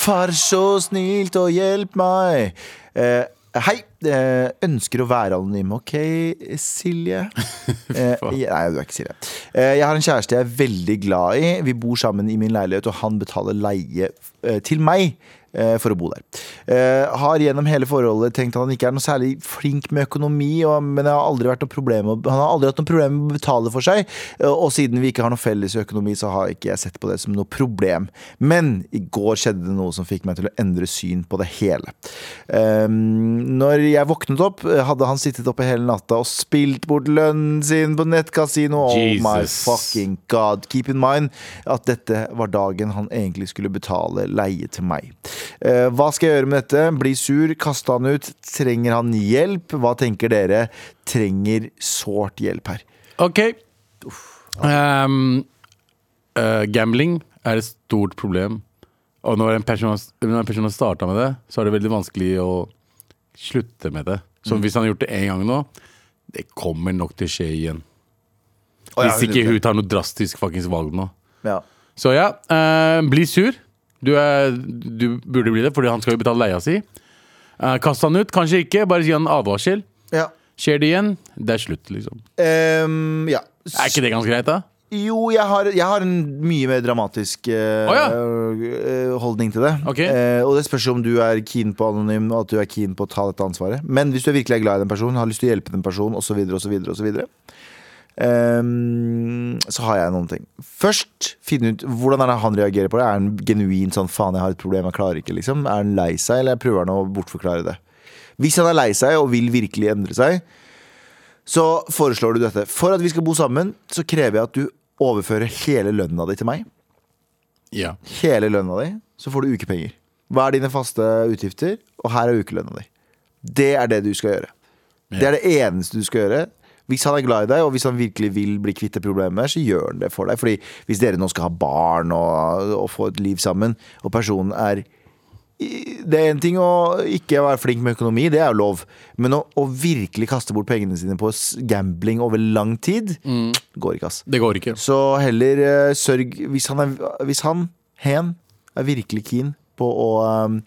Far så snilt og hjelp meg. Eh, hei. Eh, ønsker å være anonym. Ok, Silje. Eh, nei, du er ikke Silje. Eh, jeg har en kjæreste jeg er veldig glad i. Vi bor sammen i min leilighet, og han betaler leie eh, til meg. eh, for å bo der. Eh, har gjennom hele forholdet tenkt at han ikke er noe særlig flink med økonomi, og, men jeg har aldri vært noe problem, å- han har aldri hatt noe problem med å betale for seg. eh, Og siden vi ikke har noe felles økonomi, så har ikke jeg sett på det som noe problem. Men i går skjedde det noe som fikk meg til å endre syn på det hele. Eh, når jeg våknet opp, eh, hadde han sittet oppe hele natta og spilt bort lønnen sin på nettkasino. Oh my
Jesus.
fucking God, keep in mind at dette var dagen han egentlig skulle betale leie til meg. Eh, hva skal jeg gjøre med dette? Bli sur? Kaste han ut? Trenger han hjelp? Hva tenker dere? Trenger sårt hjelp her.
Ok. Ehm, eh, gambling er et stort problem. Og når en person, når en person har starta med det, så er det veldig vanskelig å slutte med det. Så hvis han har gjort det én gang nå, det kommer nok til å skje igjen. Hvis ikke hun tar noe drastisk fuckings valg nå.
ja.
Så ja, eh, bli sur. Du, er, du burde bli det, fordi han skal jo betale leia si. Eh, kast han ut, kanskje ikke. Bare gi han en advarsel.
Ja.
Skjer det igjen, det er slutt, liksom.
Ehm, ja.
Er ikke det ganske greit, da?
Jo, jeg har, jeg har en mye mer dramatisk eh,
Å, ja.
eh, holdning til det.
Ok.
Eh, og det spørs jo om du er keen på anonym, og at du er keen på å ta dette ansvaret. Men hvis du virkelig er glad i den personen, har lyst til å hjelpe den personen, osv., osv., osv., Um, så har jeg noen ting. Først finne ut hvordan er det han reagerer på det. Er han genuin sånn 'faen, jeg har et problem, jeg klarer ikke'? liksom Er han lei seg, eller prøver han å bortforklare det? Hvis han er lei seg og vil virkelig endre seg, så foreslår du dette. For at vi skal bo sammen, så krever jeg at du overfører hele lønna di til meg.
Ja.
Hele lønna di, så får du ukepenger. Hva er dine faste utgifter, og her er ukelønna di. Det er det du skal gjøre. Det er det eneste du skal gjøre. Hvis han er glad i deg, og hvis han virkelig vil bli kvitt det problemet, så gjør han det for deg. Fordi hvis dere nå skal ha barn og, og få et liv sammen, og personen er i- det er en ting å ikke være flink med økonomi, det er jo lov. Men å, å virkelig kaste bort pengene sine på s- gambling over lang tid, går ikke, ass.
Det går ikke.
Så heller eh, sørg Hvis han, er, hvis han hen, er virkelig keen på å, ehm,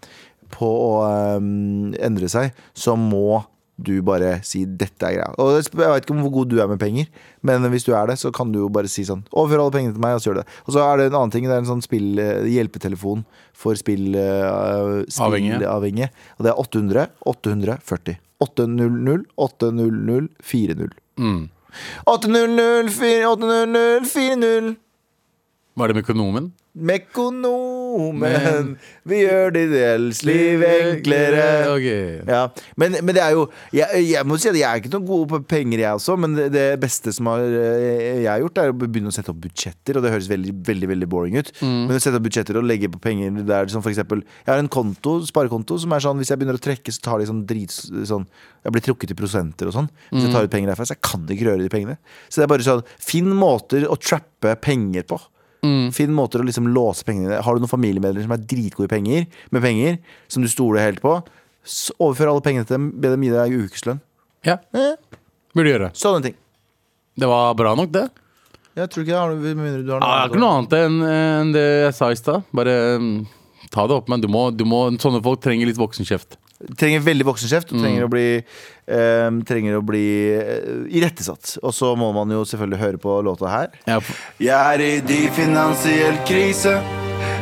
på å ehm, endre seg, så må du bare si 'dette er greia'. Og det sp- Jeg vet ikke om hvor god du er med penger, men hvis du er det, så kan du jo bare si sånn 'overfør alle pengene til meg', og så gjør du det. Og så er det en annen ting, det er en sånn spill, eh, hjelpetelefon for spill, eh,
Avhengige.
spillavhengige. Og det er 800 840. 800 800 40. 800 800 40
Var det med økonomen?
Mekonomen,
Men-
vi gjør ditt gjeldsliv enklere.
Ok.
Ja, men, men det er jo jeg, jeg må si at jeg er ikke noe god på penger, jeg også. Men det, det beste som har, eh, jeg har gjort, er å begynne å sette opp budsjetter. Og det høres veldig veldig, veldig boring ut. Men å sette opp budsjetter og legge på penger der som for eksempel Jeg har en konto, sparekonto som er sånn hvis jeg begynner å trekke, så tar de sånn drit sånn, Jeg blir trukket i prosenter og sånn. Hvis jeg tar ut penger derfra, så jeg kan ikke røre de pengene. Så det er bare sånn Finn måter å trappe penger på.
Mm.
Finn måter å liksom låse pengene dine. Har du noen familiemedlemmer som er dritgode i penger, med penger, som du stoler helt på, s- overfør alle pengene til dem, be dem gi deg ukeslønn.
Ja,
Eh,
burde gjøre.
sånne ting.
Det var bra nok, det.
Jeg tror ikke det har noe med mindre du har
Ah, Ja, det er ikke noe annet enn enn det jeg sa i stad. Bare mm, ta det opp, men du må, du må Sånne folk trenger litt voksenkjeft.
Trenger veldig voksenkjeft
Mm.
og trenger å bli, eh, trenger å bli eh, irettesatt. Og så må man jo selvfølgelig høre på låta her.
Ja,
Jeg er i dyp finansiell krise.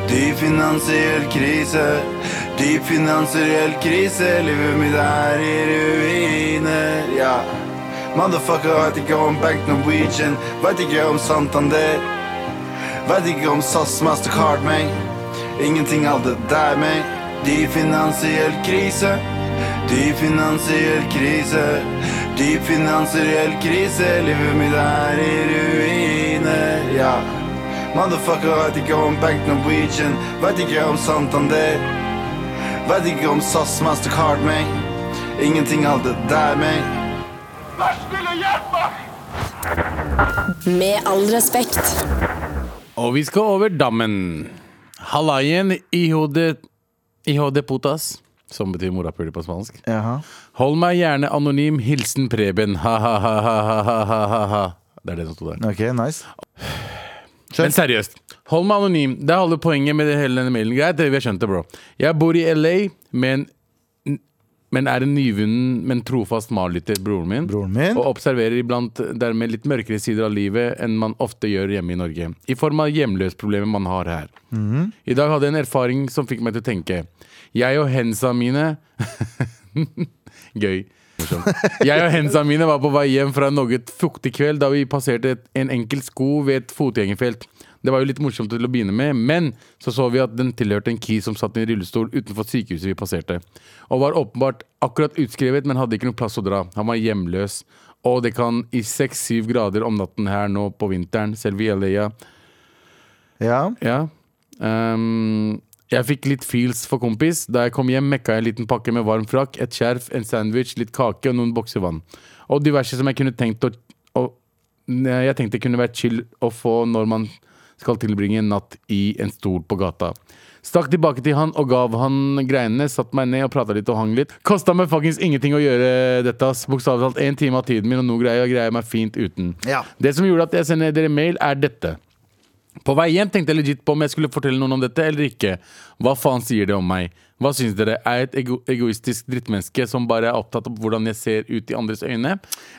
Dyp finansiell krise. Dyp finansiell krise. Livet mitt er i ruiner. Ja. Motherfucker veit ikke om Bank Norwegian. Veit ikke om Santander. Veit ikke om SAS Mastercard, meg. Ingenting av det der, meg. Dyp finansiell krise. Dyp finansiell krise. Dyp finansiell krise. Livet mitt er i ruiner, ja. Motherfucker veit ikke om Bank Norwegian. Veit ikke om Santander. Veit ikke om SAS Mastercard, meg. Ingenting av det der, meg.
Med all respekt.
Og vi skal over dammen. Halaien IHD, IHD Putas, som betyr morapuler på spansk. Hold meg gjerne anonym. Hilsen Preben. Ha-ha-ha-ha-ha-ha. Det er det som sto der.
Ok, nice.
Men seriøst, hold meg anonym. Det er alle poenget med det hele denne mailen. Greit, vi har skjønt det, bro. Jeg bor i LA med en men er en nyvunnen, men trofast malytter, broren min.
Broren min.
Og observerer iblant dermed litt mørkere sider av livet enn man ofte gjør hjemme i Norge. I form av hjemløsproblemet man har her.
Mhm.
I dag hadde jeg en erfaring som fikk meg til å tenke. Jeg og hensa mine Gøy. Morsomt. Jeg og hensa mine var på vei hjem fra en noe fuktig kveld da vi passerte et, en enkel sko ved et fotgjengerfelt. Det var jo litt morsomt til å begynne med, men så så vi at den tilhørte en kis som satt i en rullestol utenfor sykehuset vi passerte. Og var åpenbart akkurat utskrevet, men hadde ikke noe plass å dra. Han var hjemløs. Og det kan i 6-7 grader om natten her nå på vinteren, selv i LA,
Ja.
ja. Ehm, jeg fikk litt feels for kompis. Da jeg kom hjem, mekka jeg en liten pakke med varm frakk, et skjerf, en sandwich, litt kake og noen bokser vann. Og diverse som jeg kunne tenkt å, å ne, Jeg tenkte kunne vært chill å få når man skal tilbringe en natt i en stol på gata. Stakk tilbake til han og gav han greiene, satt meg ned og prata litt og hang litt. Kosta meg fuckings ingenting å gjøre dette, ass. Bokstavelig talt én time av tiden min, og nå greier jeg å greie meg fint uten.
Ja.
Det som gjorde at jeg sender dere mail, er dette. På vei hjem tenkte jeg legit på om jeg skulle fortelle noen om dette eller ikke. Hva faen sier det om meg? Hva syns dere? Er jeg et ego egoistisk drittmenneske som bare er opptatt av hvordan jeg ser ut i andres øyne?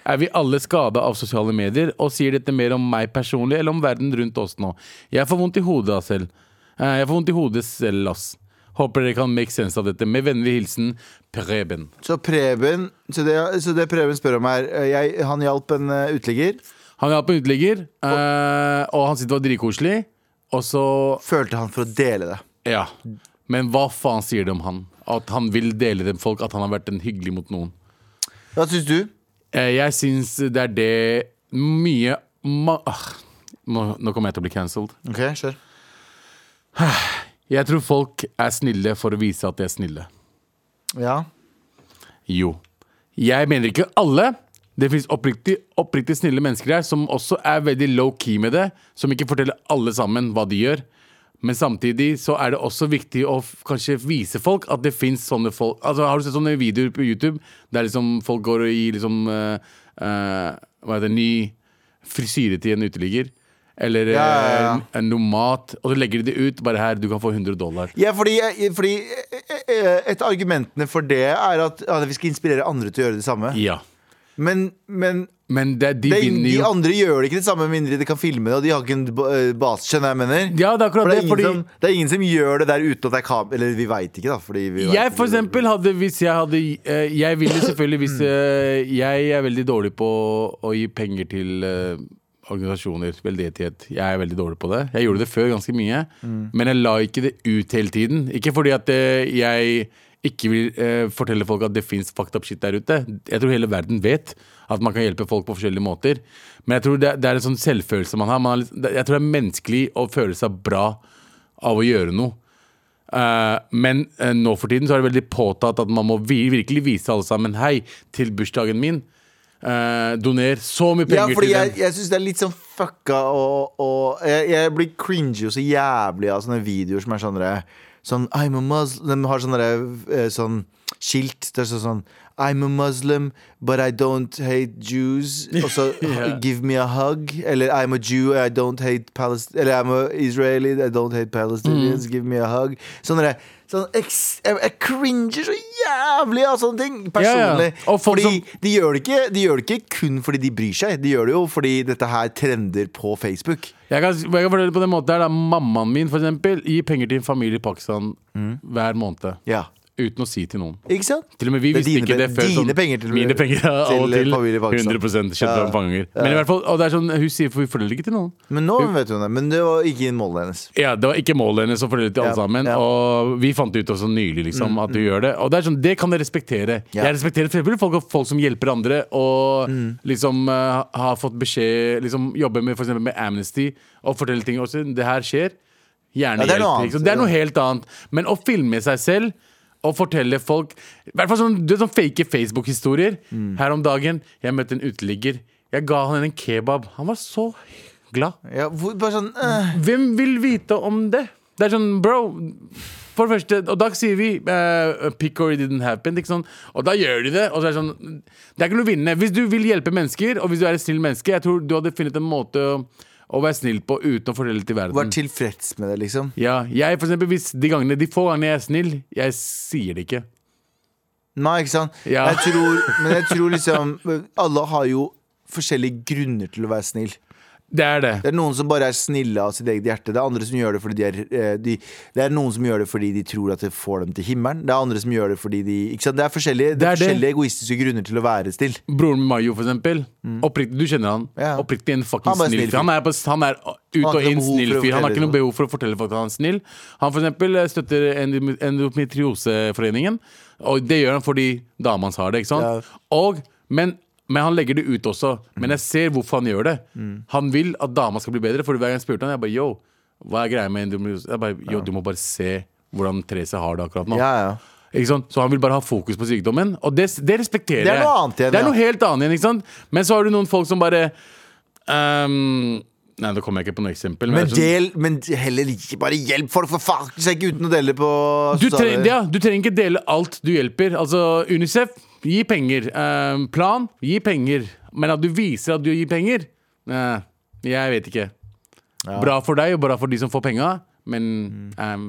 Er vi alle skada av sosiale medier, og sier dette mer om meg personlig eller om verden rundt oss nå? Jeg får vondt i hodet av selv. Eh, Jeg får vondt i hodet selv, ass. Håper dere kan make sense av dette. Med vennlig hilsen Preben.
Så Preben Så det, så det Preben spør om, er eh, jeg, Han hjalp en eh, uteligger.
Han er på uteligger, eh, og han sitter og var dritkoselig. Og så
Følte han for å dele det.
Ja, men hva faen sier det om han? At han vil dele det med folk, at han har vært en hyggelig mot noen.
Hva syns du?
Eh, Jeg syns det er det mye ma ah, nå, nå kommer jeg til å bli cancelled.
Ok, kjør
Jeg tror folk er snille for å vise at de er snille.
Ja.
Jo. Jeg mener ikke alle. Det fins oppriktig, oppriktig snille mennesker her som også er veldig low-key med det. Som ikke forteller alle sammen hva de gjør. Men samtidig så er det også viktig å f kanskje vise folk at det fins sånne folk. Altså Har du sett sånne videoer på YouTube der liksom folk går og gir liksom eh, eh, Hva heter det, ny frisyre til en uteligger? Eller eh,
Ja, ja, ja.
en- noe mat. Og så legger de det ut. Bare her, du kan få 100 dollar.
Ja, fordi, fordi eh, et av argumentene for det er at ja, vi skal inspirere andre til å gjøre det samme.
Ja.
Men, men
Men det, de
de,
vinner
de
jo.
andre gjør det ikke det samme, med mindre de kan filme det, og de har ikke en ba- eh, base. Skjønner jeg hva jeg mener?
Ja, det
For
er akkurat
det,
det.
er
Fordi
ingen som, det er ingen som gjør det der uten at det er kamera Eller vi veit ikke, da. Fordi vi vet
Jeg
ikke.
for eksempel hadde Hvis jeg hadde eh, Jeg ville selvfølgelig hvis eh, Jeg er veldig dårlig på å gi penger til eh, organisasjoner, veldedighet. Jeg er veldig dårlig på det. Jeg gjorde det før ganske mye, men jeg la ikke det ut hele tiden. Ikke fordi at eh, jeg ikke vil eh, fortelle folk at det fins fucked up shit der ute. Jeg tror hele verden vet at man kan hjelpe folk på forskjellige måter. Men jeg tror det, er- det er en sånn selvfølelse man har. Man har litt, jeg tror det er menneskelig å føle seg bra av å gjøre noe. Eh, men eh, nå for tiden så er det veldig påtatt at man må vi virkelig vise alle sammen Hei, til bursdagen min. eh, doner så mye
Ja,
penger
fordi
til
jeg,
den.
jeg syns det er litt sånn fucka og, og jeg, jeg blir cringy og så jævlig av sånne videoer som er sånn derre- Sånn I'm a Muslim De har sånne derre, eh, sånn skilt. Det er sånn sånn I'm a Muslim, but I don't hate Jews. Og så
Ja.
give me a hug. Eller I'm a Jew, I don't hate Palest Eller I'm a Israeli, I don't hate
Mm.
Palestinians, give me a hug. Sånn derre- Sånn, eks- jeg, jeg cringer så jævlig av sånne ting!
ja.
Personlig.
Og folk
Fordi
som-
de gjør, det ikke, de gjør det ikke kun fordi de bryr seg, de gjør det jo fordi dette her trender på Facebook.
Jeg kan, jeg kan fortelle det på den måten her da. Mammaen min for eksempel gir penger til en familie i Pakistan
Mm.
hver måned.
Ja,
Uten å si til noen.
ikke sant?
Til og med vi
Det er
visste
dine
ikke det
pe-
før. sånn
dine penger til-
mine penger ja, av
til,
og
eh,
til.
familie i Pakistan.
100 kjøpt
Ja.
av fanger. Men i hvert fall, og det er sånn, hun sier for vi forteller ikke til noen.
Men nå vet hun det, men det var ikke i målet hennes.
Ja, Det var ikke målet hennes å fortelle til alle
Ja,
sammen.
ja. Mm,
Og vi fant ut også nylig liksom, at du gjør det. Og det er sånn, det kan jeg respektere.
Ja. Mm.
Jeg respekterer for eksempel folk, folk som hjelper andre, og liksom eh, har fått beskjed liksom, Jobber med, for eksempel med Amnesty og forteller ting. Også, det her skjer.
Ja,
Gjerne
det er
hjelp.
noe annet.
Liksom. Det er noe helt annet. Men å filme seg selv og fortelle folk I hvert fall sånn, du vet, sånn fake Facebook-historier.
Mm.
Her om dagen, jeg møtte en uteligger. Jeg ga han en kebab. Han var så glad.
Ja, hvor, bare sånn eh,
Hvem vil vite om det? Det er sånn, bro For det første, og da sier vi uh, Pickory didn't happen, ikke sånn Og da gjør de det, og så er det sånn Det er ikke noe vinnende, hvis du vil hjelpe mennesker Og hvis du er et snill menneske, jeg tror du hadde funnet en måte Å, å være snill på uten å fordele til verden
Vær tilfreds med det, liksom.
Ja, jeg for eksempel, hvis de gangene De få gangene jeg er snill, jeg sier det ikke
Nei, ikke sant?
Ja.
Jeg tror, men jeg tror liksom Alle har jo forskjellige grunner til å være snill.
Det er det.
Det er noen som bare er snille av sitt eget hjerte. Det er andre som gjør det fordi de er eh, de, Det er noen som gjør det fordi de tror at det får dem til himmelen. Det er andre som gjør det fordi de Ikke sant? Det er forskjellige, det
Det
er
er det.
forskjellige egoistiske grunner til å være snill.
Broren min Mayo, for eksempel. Oppriktig, du kjenner han.
Mm. Ja.
Oppriktig en fucking
Han er bare
snill
snill
fyr. Han er, på, han er ut
har
og
ikke
inn
noe behov for
snill
å
fyr. Han har
fortelle
ikke noe
det.
behov for å fortelle folk at han er snill. Han for eksempel eh, støtter Endo- Endometrioseforeningen, og det gjør han fordi dama hans har det. ikke sant? Og, men, men han legger det ut også.
Mm.
Men jeg ser hvorfor han gjør det. Han vil at dama skal bli bedre, for hver gang jeg spurte han, jeg bare yo, hva er greia med endometriose? Jeg bare, yo, du må bare se hvordan Therese har det akkurat nå.
Ja, ja.
Ikke sant? Så han vil bare ha fokus på sykdommen, og det, det respekterer jeg.
Det er noe annet igjen,
Det er noe
ja.
helt annet igjen, ikke sant? Men så har du noen folk som bare ehm, Nei, da kommer jeg ikke på noe eksempel.
Men
det er sånn-
del, men heller ikke bare hjelp folk, for faen! Ikke uten å dele på
sånn- du,
sosiale-
trenger, ja, du trenger ikke dele alt du hjelper. Altså Unicef, gi penger. Ehm, plan, gi penger. Men at du viser at du gir penger Nei, Jeg vet ikke. Bra for deg og bra for de som får penga, men
Mm.
ehm,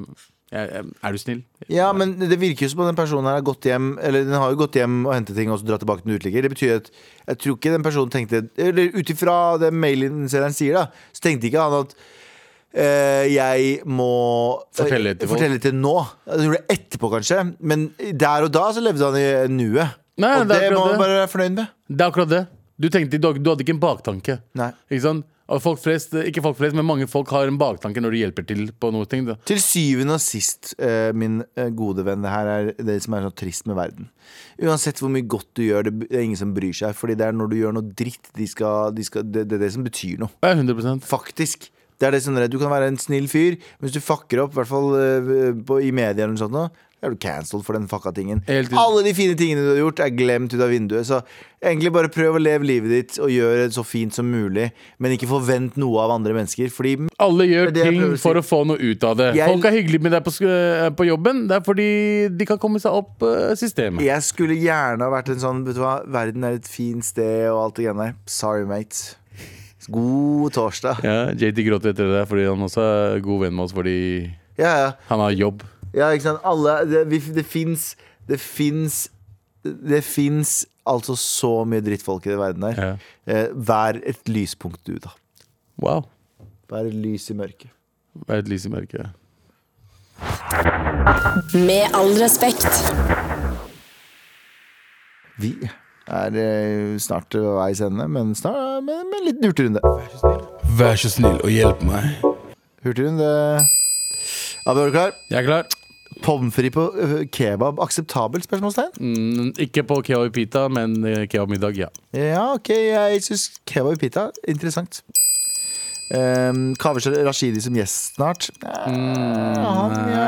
jeg- jeg- er du snill?
Ja, men det virker jo som om den personen her har gått hjem Eller den har jo gått hjem og hentet ting og så dratt tilbake til en uteligger. Det betyr at jeg tror ikke den personen tenkte Eller ut ifra det mailinnsenderen sier, da, så tenkte ikke han at eh, jeg må eh,
Fortelle det til folk.
fortelle det til nå. Jeg tror det etterpå, kanskje. Men der og da så levde han i nuet.
Nei,
og
det
det,
er akkurat
må
det.
man bare være fornøyd med.
Det er akkurat det. Du, tenkte, du, du hadde ikke en baktanke.
Nei.
Ikke sant? Og folk flest, ikke folk flest, men mange folk har en baktanke når de hjelper til på noe ting. Da.
Til syvende og sist, eh, min eh, gode venn, det her er det som er så trist med verden. Uansett hvor mye godt du gjør, det b- det er ingen som bryr seg. Fordi det er når du gjør noe dritt, de skal, de skal, det, det er det som betyr noe.
Ja, 100
Faktisk. Det er det som er, du kan være en snill fyr, men hvis du fucker opp, i hvert fall eh, på, i media eller noe sånt, nå, da er du cancelled for den fucka tingen.
Helt ut-
Alle de fine tingene du har gjort, er glemt ut av vinduet. Så egentlig bare prøv å leve livet ditt og gjøre det så fint som mulig, men ikke forvent noe av andre mennesker. Fordi
Alle
Det
gjør
er det jeg
ting
prøver å si.
for å få noe ut av det.
Jeg-
Folk er hyggelige med deg på, sk- eh, på jobben. Det er fordi de kan komme seg opp eh, systemet.
Jeg skulle gjerne ha vært en sånn Vet du hva, verden er et fint sted og alt det greiene der. Sorry, mate. God torsdag.
Ja, JT gråter etter det der fordi han også er god venn med oss fordi
Ja, ja.
han har jobb.
ja ikke sant. Alle Det, vi- det fins Det fins Det fins altså så mye drittfolk i den verden der.
Ja.
Eh, vær et lyspunkt, du, da.
Wow.
Vær et lys i mørket.
Det er et lys i mørket.
Med all respekt.
Vi er eh, snart ved veis ende, men snart med, med en liten hurtigrunde.
Vær så snill og hjelp meg.
Hurtigrunde. Abu, er du klar?
Jeg er klar.
Pommes frites på eh, kebab akseptabelt? spørsmålstegn?
Mm, ikke på kebab i pita, men eh, kebabmiddag, ja.
Ja, ok, jeg syns kebab i pita Interessant um, Kavish Rashidi som gjest snart
Mm,
Ja, han ja.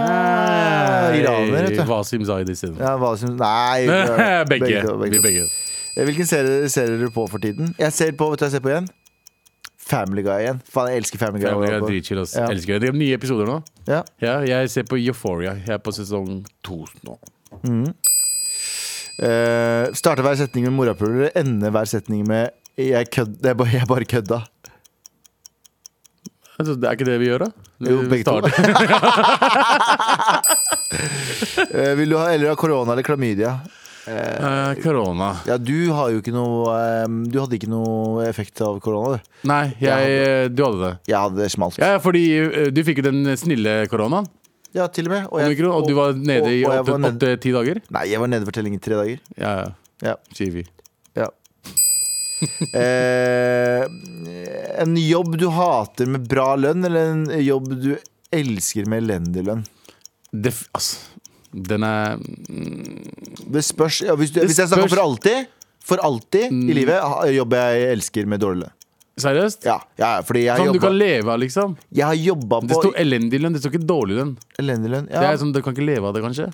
Ah, Iraner, vet du
Wasim Zaid isteden.
ja, hva som, nei,
begge.
to,
Vi
begge. to.
begge.
Eh, Hvilken serie ser dere på for tiden? Jeg ser på, vet du hva jeg ser på igjen? Family Guy igjen Faen, jeg elsker Family Guy
Family Guy er
Jeg
dritchill. ass.
Ja.
Elsker det. De har nye episoder nå.
ja.
Ja, jeg ser på Euphoria. Jeg er på sesong to nå.
Eh, Starte hver setning med morapuler Ende hver setning med Jeg, kødd, jeg, bare, jeg bare kødda
Altså, det er ikke det vi gjør, da?
Jo,
Vi
begge to.
starter-
Eh, Vil du ha, eller ha korona eller klamydia?
Eh, Korona.
Ja, du har jo ikke noe ehm, Du hadde ikke noe effekt av korona, du.
Nei, jeg, eh, du hadde det.
Jeg hadde smalt.
Ja, fordi eh, du fikk jo den snille koronaen,
Ja, til og med. Og
omikron, og du var nede i
og- og jeg var nede-
åtte-ti dager.
Nei, jeg var nede for telling i tre dager.
Ja, ja.
Ja.
Chivi.
ja. eh, en jobb du hater med bra lønn, eller en jobb du elsker med elendig lønn?
Det, f- altså, den er mm,
Det spørs. Ja, hvis, du,
Det
hvis jeg snakker
spørs. Mm.
for alltid, for alltid i livet, ha- jobb jeg elsker med dårlig lønn.
Seriøst?
Ja, ja, fordi jeg har
Sånn du kan
jobba-
leve av, liksom.
jeg har jobba
Det
på
står elendig lønn, det står ikke dårlig lønn.
elendig lønn.
Det
Ja.
er sånn, Du kan ikke leve av det, kanskje?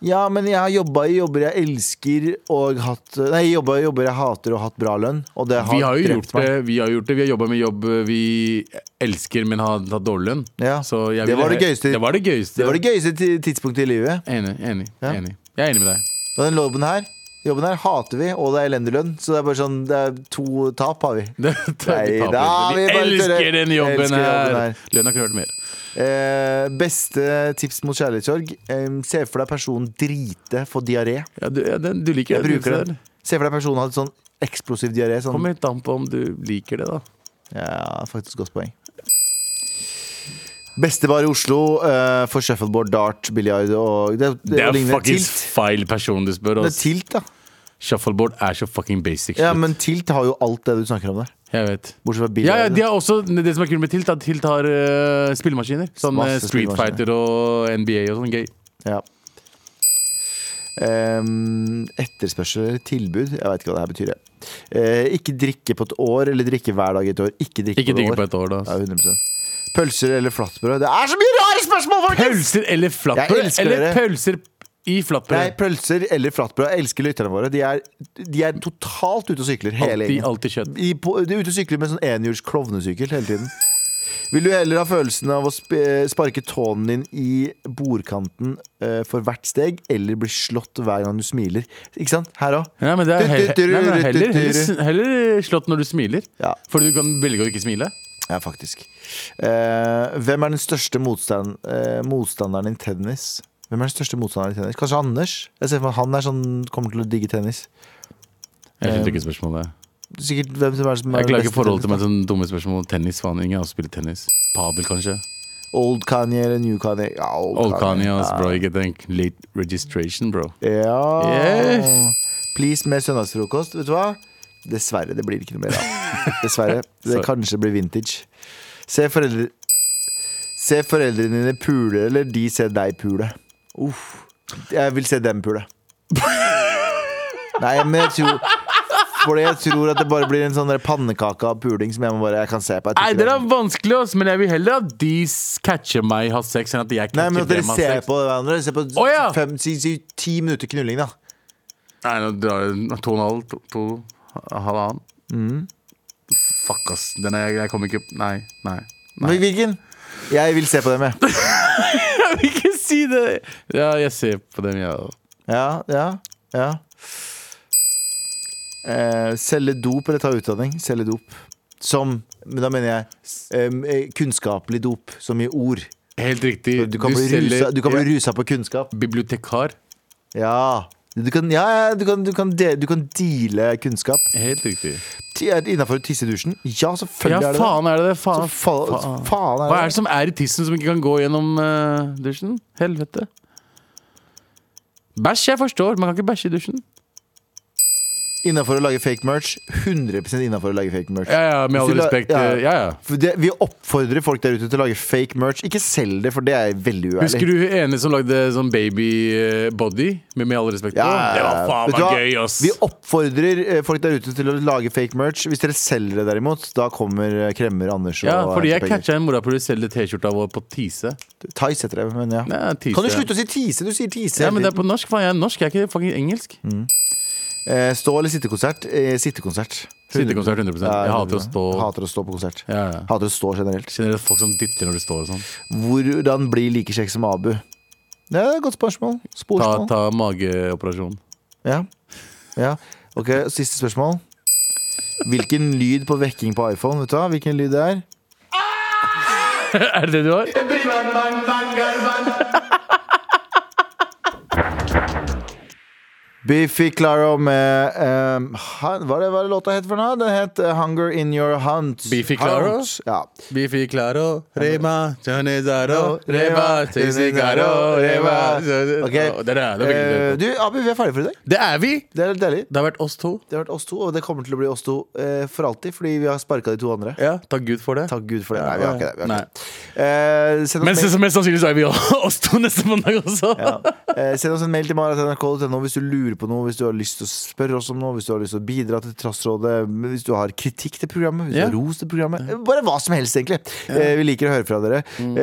Ja, men jeg har jobba i jobber jeg elsker og hatt Nei, jobba i jobber jeg hater og hatt bra lønn. Og det har,
Vi har jo
drept
gjort det. Vi har, gjort det. Vi har jobba med jobb vi elsker, men har tatt dårlig lønn.
Ja.
Så jeg
Det
ville
var det
he-
gøyeste.
Det var det gøyeste.
Det var det gøyeste ti- tidspunktet i livet.
Enig. enig,
Ja.
enig Jeg er enig med deg.
Og den jobben her Jobben her hater vi, og det er elendig lønn. Så det er bare sånn, det er to tap har vi.
Det, det,
Nei,
det,
da,
vi
vi bare
elsker
tuller.
den jobben
Elsker jobben
her!
her.
Lønna kunne vært mer.
Eh, beste tips mot kjærlighetssorg. Eh, se for deg personen drite, få diaré.
Ja, du, ja, den, du liker
Jeg
det, du
bruker
ser.
den. Se for deg personen hadde sånn eksplosiv diaré. Sånn.
Kommer helt an på om du liker det, da.
Ja, faktisk godt poeng. Beste bar i Oslo eh, for shuffleboard, dart, biljard og det, det,
Det er
ligner
fuckings
tilt.
feil person du spør.
Det er
ass.
tilt, da.
Shuffleboard er så fucking basic shit.
Ja, men tilt har jo alt det du snakker om der.
Jeg vet.
Bortsett fra
Ja, ja,
biljard.
de har også, det som er kult med Tilt, er at Tilt har eh, spillemaskiner. Sånn eh,
Masse
Street Fighter og NBA og sånn gøy.
Ja. Ehm, etterspørsel eller tilbud? Jeg veit ikke hva det her betyr. jeg. Eh, ikke drikke på et år, eller drikke hver dag i et år. Ikke drikke
Ikke
på et
digge
år.
på et år,
Ja,
da.
100 Pølser eller flatbrød? Det er så mye rare spørsmål, folkens!
Pølser eller
Jeg
flatbrød?
elsker
Eller
dere.
pølser i
Nei,
flatbrød.
pølser eller flatbrød. Jeg elsker lytterne våre. De er, de er totalt ute og sykler. Hele
Alltid,
gjengen.
alltid kjøtt.
I, på, de er ute og sykler med sånn enhjuls klovnesykkel hele tiden. Vil du heller ha følelsen av å sp eh, sparke tånen din i bordkanten eh, for hvert steg, eller bli slått hver gang du smiler? Ikke sant? Her òg.
Nei, men det er he
Du, du, du,
Nei, men
du, du,
heller,
du,
heller,
du.
s- heller slått når du smiler.
Ja.
For du kan velge å ikke smile.
Ja, faktisk. Eh, hvem er den største motstand, eh, motstanderen i tennis? Hvem er den største motstanderen i tennis? Kanskje Anders? Jeg ser for meg Han er sånn, kommer til å digge tennis. skjønte
Jeg skjønte
Eh,
ikke spørsmålet.
Sikkert hvem som er som er
Jeg klager
beste
forholdet til
tennis-
meg sånne dumme spørsmål. Tennis, faen. Ingen har spilt tennis. Padel, kanskje.
Old Kanye eller New Kanye? Ja, Old,
Old Kanye, ass,
Ja.
bro. Ikke tenk late registration, bro.
Ja.
Yeah.
Please med søndagsfrokost. Vet du hva? Dessverre, det blir ikke noe mer av. Dessverre. Det
Sorry.
kanskje blir vintage. Se, foreldre... se foreldrene dine pule, eller de ser deg pule. Uff. Jeg vil se dem pule. Nei, men jeg tror Fordi jeg tror at det bare blir en sånn der pannekake av puling som jeg må bare jeg kan se på. Jeg tror
Nei,
ikke
det
det-
er vanskelig, ass, men jeg vil heller at de s- catcher meg har sex, enn at jeg
Nei, men
catcher
at dere
dem har
ser
sex.
på hverandre. Se på
Å, ja.
fem, si, si, ti minutter knulling, da.
Nei, nå drar jeg to og en halv, to, to halvannen.
Mm.
Fuck, ass. Den er, jeg kommer ikke Nei, nei. nei.
Men Hvilken? Jeg vil se på dem, jeg.
Jeg vil ikke si det! Ja, jeg ser på dem, jeg. Ja.
Ja, ja, ja. Eh, selge dop eller ta utdanning? Selge dop. Som Men da mener jeg em, eh, kunnskapelig dop, som i ord.
Helt riktig.
Du kan, bli,
selger-
rusa, du kan bli
ja,
rusa på kunnskap.
Bibliotekar.
Ja. Du kan, ja, ja, du kan, du kan, de, du kan deale kunnskap.
Helt riktig.
Innafor å tisse i dusjen? Ja,
Ja,
selvfølgelig er det det.
faen er det det.
Så
Faen,
fa
faen.
faen
Hva er
er
det
det.
som er i tissen som ikke kan gå gjennom eh, dusjen? Helvete. Bæsj, jeg forstår. Man kan ikke bæsje i dusjen.
Innafor å lage fake merch. 100 innafor å lage fake merch.
Ja, ja, med all
Hvis du la-
respekt.
ja.
eh, Ja, ja.
For det, vi oppfordrer folk der ute til å lage fake merch. Ikke selg det, for det er veldig uærlig.
Husker du hun ene som lagde sånn baby-body? Med, med all respekt. Det var faen
Vet du
meg
hva?
gøy, ass!
Vi oppfordrer eh, folk der ute til å lage fake merch. Hvis dere selger det, derimot, da kommer eh, Kremmer Anders og
Ja, fordi jeg
henter penger.
catcha en morapuler selge T-skjorta vår på Tise.
Theis heter det, men ja.
Nei, Tise.
Kan du slutte å si Mm. Tise? Du sier Tise.
Ja,
hele
men det er
tiden.
på norsk. Faen, jeg er norsk, jeg er ikke fucking engelsk.
Eh, Stå- eller sittekonsert? Eh, Sittekonsert.
Sittekonsert 100
Ja,
Jeg hater å stå
Hater å stå på konsert.
ja, ja.
Hater å stå generelt.
Generelt folk som dytter når du står og sånn.
Hvordan bli like kjekk som Abu? Det er et godt spørsmål.
Ta,
Sporspørsmål.
ta mageoperasjon.
Ja. ja. Ok, siste spørsmål. Hvilken lyd på vekking på iPhone? Vet du hva? Hvilken lyd det er?
er det det du har?
Biffy Claro med ehm, han- hva, er det, hva er det låta het for noe? Den het eh, Hunger In Your Hunt.
Biffy Clyro?
Hunt. Ja.
Bifi claro, rema, chanezaro,
Reba, Tizzy Caro, Reba. Ok. Eh,
Det
du, Abu, vi er ferdige for i dag.
er vi!
Det er litt deilig.
Det har vært oss to.
Det har vært oss to, og det kommer til å bli oss to eh, for alltid, fordi vi har sparka de to andre.
Ja, takk Gud for det.
Takk Gud for det. Nei, vi har ikke det. Vi har
Nei.
ikke det. Eh, send oss
Men
mail-
så- så mest sannsynlig så er vi oss to neste mandag også.
Ja. Eh, Send oss en mail til mara.nrk.no hvis du lurer på noe, hvis du har lyst til å spørre oss om noe, hvis du har lyst til å bidra til Trassrådet, hvis du har kritikk til programmet, hvis
Ja. Mm.
du har ros til programmet. Eh, Bare hva som helst, egentlig. Eh, Vi liker å høre fra dere. Um,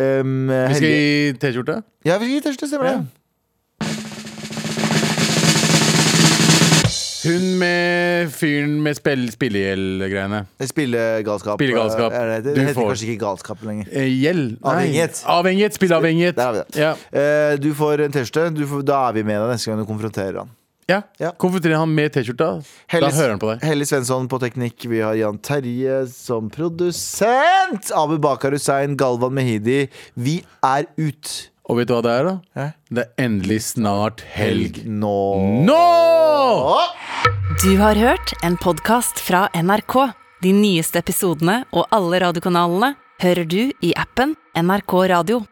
Vi skal
Helge-
gi T-skjorte.
Ja, vi skal gi T-skjorte, stemmer det.
Hun med fyren med spill- spillegjeld-greiene.
Eh, Spillegalskap.
Spillegalskap.
eh, er det det?
Du
Det heter
får-
kanskje ikke galskap lenger.
Eh, Gjeld? Nei.
Avhengighet.
Avhengighet, Spilleavhengighet.
Der har vi det.
Ja.
Eh, Du får en T-skjorte. Du får- Da er vi med deg neste gang du konfronterer han.
Ja.
Ja.
Konfronterer han med T-skjorta, da hører han på deg.
Helle Svensson på teknikk. Vi har Jan Terje som produsent. Abu Bakar Hussein, Galvan Mehidi. Vi er ut.
Og vet du hva det er, da?
Hæ?
Det er endelig snart helg.
Nå
Nå!
Du har hørt en podkast fra NRK. De nyeste episodene og alle radiokanalene hører du i appen NRK Radio.